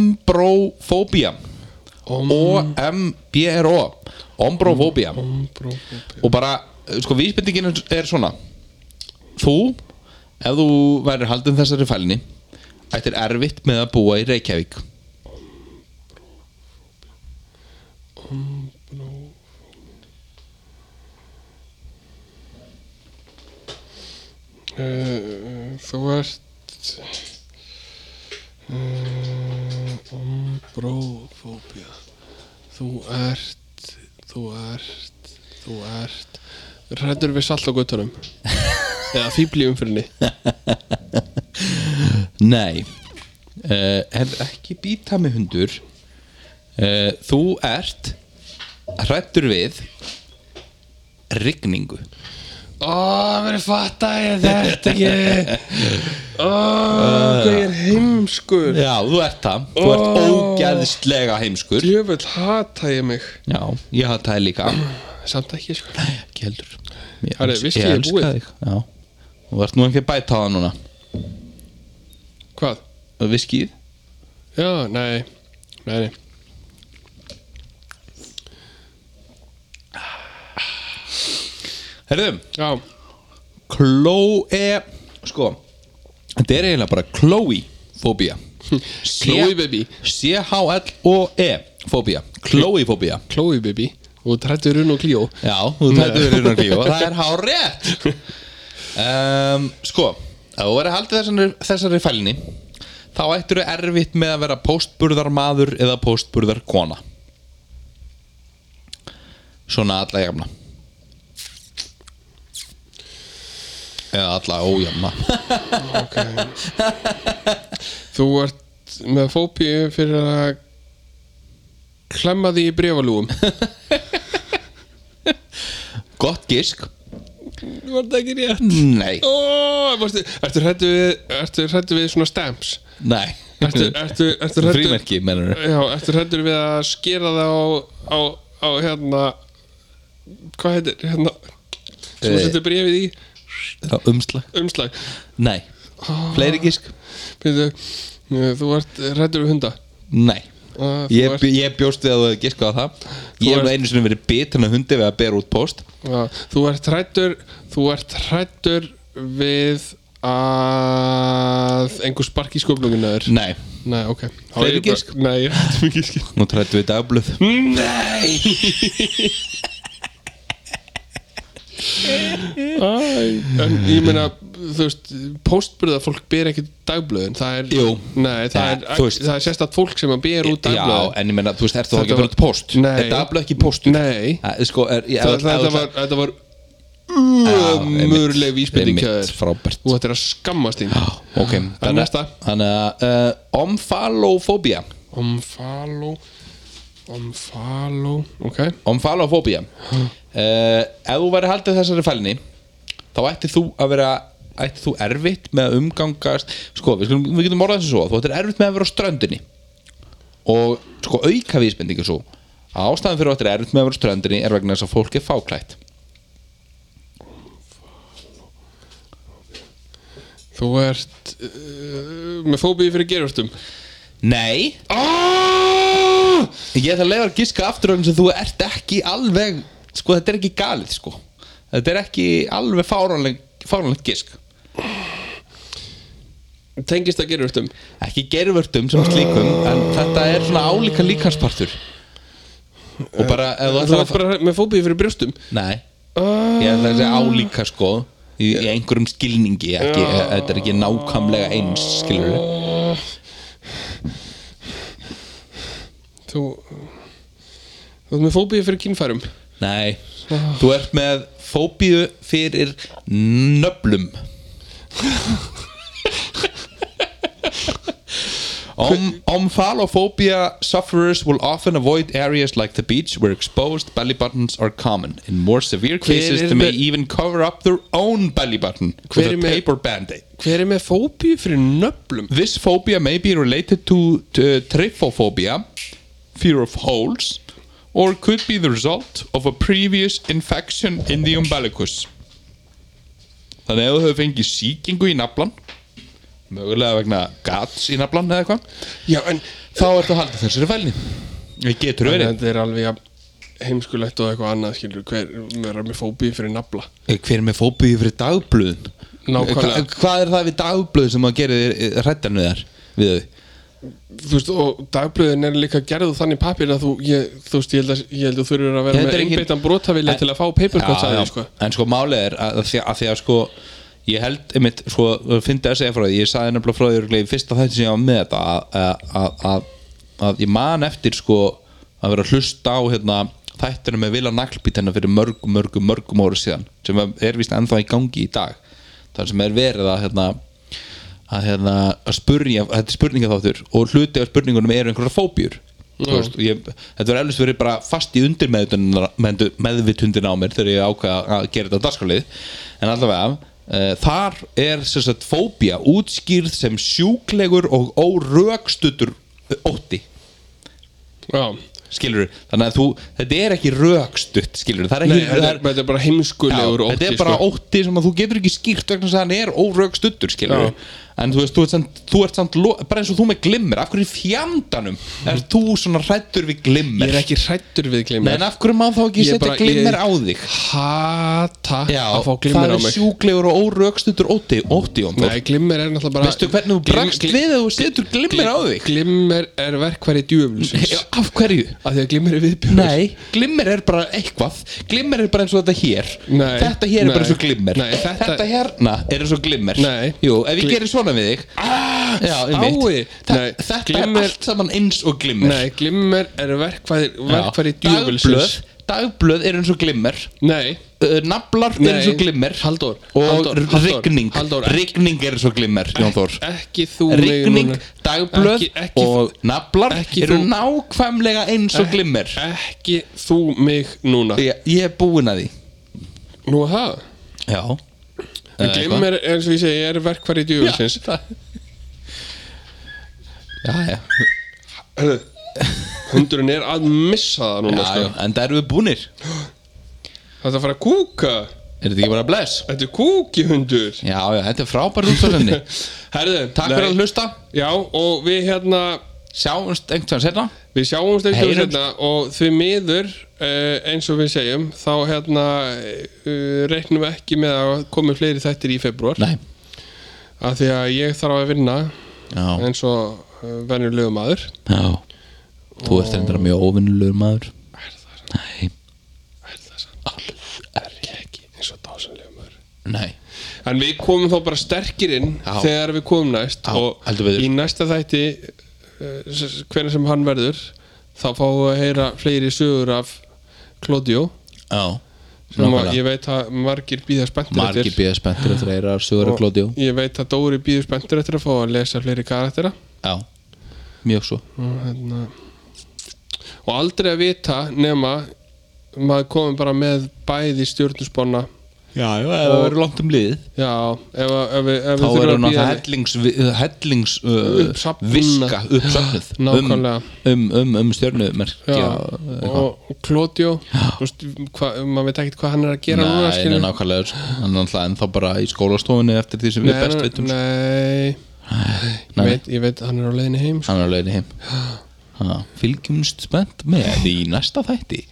ombrofóbía
Om-
O-M-B-R-O ombrofóbía
Ombrofóbía.
og bara, eh, sko, vísbendingin er- er svona þú, ef þú værir haldin þessari fælni ættir erfitt með að búa í Reykjavík
Eh, Þú ert uh, Ombrofóbía Þú ert Þú ert Þú ert Rættur við salt á guttunum Eða fíbli umfyrinni
nei uh, er ekki býta með hundur uh, þú ert hrættur við rigningu
Ó, verður fatta ég þetta ekki Ó, hvað ég er heimskur
já, þú ert það, þú ert
Ó.
ógeðslega heimskur
Djöfull hata ég mig
Já, ég hatt það líka
Samt ekki sko
Ekki heldur Ég
Herri,
els-
viskíið er
elska
búið.
þig. Já, þú ert nú ekki að bæta á það núna
Hvað?
Viskið
Já, nei Nei, nei
Herðum,
Já,
Chloe Sko, þetta er eiginlega bara Chloe fóbía
Chloe baby.
C-H-L-O-E fóbía Chloe fóbía
Chloe baby og trættur unn og klíó
Já, þú tættu verið innan klíu og Mm. það er hár rétt um, Sko, ef þú verið haldið þessari, þessari fælni þá ættir þú erfitt með að vera póstburðarmaður eða póstburðarkona Svona alla jafna Eða alla ójafna
okay. Þú ert með fóbíu fyrir að klemma því í brefalúum
Gott gisk
Þú ert ekki rétt
Nei,
Ó, varstu, ertu hrættu við, ertu hrættu við svona stamps?
nei
Ertu, ertu, ertu hræddur-
Frímerki, mennur
Já, ertu hrættur við að skera það á, á, á hérna Hvað heitir, hérna Svo
Eh.
setur brefið í
Umslag
umslag
Nei, fleiri gisk
Byrðu, Þú ert hrættur við hunda
Nei
Uh, þú
ég,
ert-
bj- ég bjóst við að þú hefði giskað á það Ég hef nú einu sinni verið bitin af hundi við að bera út post
Já, þú ert hrættur þú ert hrættur við að einhver spark í sköflunginu er
Nei,
Nei, ok Þá
Fleiri
er ég bara-
gisk?
Nei, ég hrættum við gísk
nú trættu við dagblöð
Nei Æ, en ég meina þú veist, póstbyrða fólk ber ekki dagblöðin, það er
Jú.
nei, það,
Ja,
er,
þú veist.
það er sérstætt fólk sem að ber út
Já,
dagblöðin
en ég meina, þú veist, ertu þá
Þetta
ekki að bera
var-
út post
Nei.
Er dagblöð ekki postur?
Nei.
Æ, Sko, er, ég,
það, það, þetta, var, þetta var umurleg vísbending hjá
Einmitt,
þér.
frábært
Þú ættir að skammast þín Það
Ok,
er
þannig
næsta
Þannig að uh, Omfalofóbía
Omfalo Omfalo Ok
Omfalofóbía uh, Ef þú væri haldið þessari fælni þá ættir þú að vera ættir þú erfitt með að umgangast sko, við, skulum, við getum orðað þessu svo þú ættir erfitt með að vera á ströndinni og sko auka vísbendingu svo að ástæðan fyrir þú ættir erfitt með að vera á ströndinni er vegna þess að fólk er fáklætt
Þú ert uh, með fóbíu fyrir gerustum
Nei,
oh!
ég ætla að leiða að giska aftur vegna þess að þú ert ekki alveg sko, þetta er ekki galið sko þetta er ekki alveg fáránleg, fáránlegt gisk
Tengist að gerustum
ekki gervörtum sem slíkum en þetta er svona álíka líkanspartur og bara ef
Þú
þú ætlar
ert
að
bara með fóbíu fyrir brjóstum
Nei,
uh,
ég ætla að segja álíka sko í, í einhverjum skilningi ekki, þetta er ekki nákvæmlega eins skilur
Þú Þú ert með fóbíu fyrir kynfærum
Nei, þú ert með fóbíu fyrir nöblum Om, omphalophobia sufferers will often avoid areas like the beach where exposed belly buttons are common. In more severe cases,
er
they may
með-
even cover up their own belly button with
Hver
a
er með-
paper band-aid.
Hver er með fóbíu fyrir nöflum?
This phobia may be related to, to trypophobia, fear of holes, or could be the result of a previous infection in the umbilicus. Þannig að ef þú hefur fengið sýkingu í naflan, mögulega vegna gats í naflan eða eitthvað,
Já, en
þá ertu að halda þessari fælni. Við getur verið.
þetta er alveg jafn heimskulegt og eitthvað annað, skilur, hver vera með fóbíu fyrir nafla.
Hver er með fóbíu fyrir dagblöðun?
Nákvæmlega.
Hva, hvað er það við dagblöð sem að gera þér hrættan við þar? Við þau?
Þú veist, og dagblöðin er líka gerðu þannig pappir að þú, ég, þú veist, ég held að, ég held að þú þurfur að vera
Þetta
með
er engin-
einbeittan brotavilja
En-
til að fá paperkvæmsaði, sko.
En sko málið er að, að, því, að því að sko ég held einmitt sko fyndi að segja frá því ég saði nefnilega frá því örugglega í fyrsta þætti sem ég var með þetta að, að, að, að, að ég man eftir sko að vera að hlusta á hérna þættinu með vilja naglbítina fyrir mörgum mörgum mörgum ára um síðan sem er vist ennþá í gangi í dag þar sem er verið að hérna að, hérna, að spurninga þetta er spurningaþáttur og hluti af spurningunum eru einhverja fóbjur Þú veist, og ég, þetta var eflust verið bara fast í undir meðvitundin á mér þegar ég ákvaða að gera þetta á dagskalið en allavega uh, þar er sem sagt fóbía útskýrð sem sjúklegur og órökstutur ótti
Já,
skilur þannig að þú, þetta er ekki rökstutt skilur það er
nei,
ekki
þetta
það
er,
er,
þetta er bara
Já,
heimskulegur ótti, sko.
þetta er bara ótti sem að þú getur ekki skýrt vegna þess að hann er órögstuttur skilur en þú veist, þú ert samt, þú ert samt lo- bara eins og þú með glimmir, af hverju í fjandanum er þú svona hrættur
Ég
við glimmir
er ekki hrættur við
Nei,
glimmer.
en af hverju má þá ekki
Ég
setja
bara-
glimmir
ég-
á þig
Hata
Já,
að fá
það
glimmer á
er
mig.
sjúklegur og órögstuttur ótti, ótti Jón Þór.
Nei, glimmer er náttúrulega bara...
veistu hvernig þú
Glim-
brakst
glim-
við þegar þú setur glimmir á þig
Glimmer er verkværi djöfulsins.
Já, af hverju?
Af því að glimmer er viðbjörn.
Nei, glimmer er bara eitthvað Glimmer er bara eins og þetta hér
Nei.
Þetta hér er bara eins og
Nei.
glimmer
Nei, þetta-
hérna er eins og glimmer
Nei.
Jú, ef ég
Glim-
gerir svona við þig ah, Já,
stái.
einmitt Þa-
Nei,
Þetta
glimmer-
er allt saman eins og glimmer
Nei, glimmer er verkværi, verkværi
Já. Dagblöð,
djöfulsins.
dagblöð er eins og glimmer
Nei,
uh, Naflar
Nei.
er eins og glimmer
Halldór,
Og
Halldór, Halldór,
rigning
Halldór,
Rigning er eins og glimmer, Jón Þór
ekki þú mig
Rigning,
núna.
dagblöð
Ekki- ekki-
og naflar
ekki
eru
þú-
nákvæmlega eins og glimmer
E- Ekki þú mig núna
Eh. Ég, ég er búinn að því Eh,
Nú það
Já
En glimmer, eins og ég segi, er verkfæri djúfisins
Já, já,
Hundurinn er að missa það
já,
núna
já.
sko.
En það eru við búnir
Það er að fara að kúka
Er þetta ekki bara bless?
Þetta er kúki hundur
Já, já, þetta er frábær útsáðsending
Herðu,
Takk fyrir að hlusta
Já, og við hérna
Sjáumst einhvern setna
Við sjáumst einhvern
Heyrumst.
hérna og því miður uh, eins og við segjum þá hérna uh, reiknum við ekki með að komi fleiri þættir í februar
Nei
af því að ég þarf að vinna
Já,
eins og uh, venjulegu maður
já Þú ert þetta mjög óvinnulegur maður
Er það,
Nei,
er það samt Er ég ekki eins og dásanlegu maður
nei
En við komum þá bara sterkir inn
Já.
þegar við komum næst
Já, heldur
og
betur.
í næsta þætti eh, hvernig sem hann verður þá fáum við að heyra fleiri sögur af Claudio
Já
sem að
nákvæmlega.
ég veit að margir býða spenntir
Margir býða spenntur eftir að eira Sögur og Glódió
og ég veit að Dóri býður spenntur eftir að fá að lesa fleiri karaktera
Já, mjög svo
og, hérna. og aldrei að vita nema maður komum bara með bæði stjórnusbonna
Já, já, það verður langt um liðið
já, ef, að- ef, við- ef við
þá er
þurfum
hún
að
á
býða
það hellings, hellings uh,
Uppsafnað.
viska uppsafnuð um,
nákvæmlega.
um, um, um stjörnumerkja
Já,
eitthvað.
og Klódjó maður veit ekkert hvað hann er að gera núna
Nei, nei,
skilur.
nákvæmlega sko. hann er alltaf ennþá bara í skólastofunni eftir því sem við best vitum sko.
nei,
Nei,
nei. Ég, veit, ég veit hann er á leiðinni heim sko.
hann er á leiðinni heim Ha, fylgjumst spennt með í næsta þætti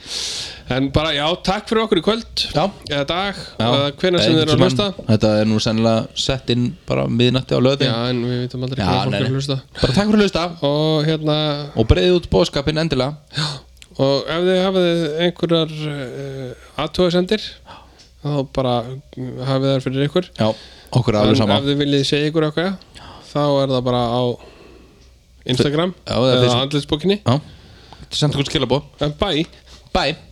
en bara já, takk fyrir okkur í kvöld
Já.
eða dag,
Já,
eða hvenær sem
einhvern
þið eru að
tímann-
hlusta
Þetta er nú sennilega sett inn bara miðnætti á löðin
já, en við veitum aldrei
Já,
hvað fólk
nei,
er að
nei.
hlusta
Bara takk fyrir að hlusta
og hérna
og breiði út bóðskapin endilega
og ef þið hafið einhverjar uh, aðtóðsendir þá bara hafið þær fyrir ykkur
Já, okkur
en
er alveg
ef
sama
þið viljið segja ykkur eitthvað þá er það bara á Instagram
Já, það er
eða
Facebook.
andlitsbókinni
Já, senda okkur skilabóð
en bye
Bye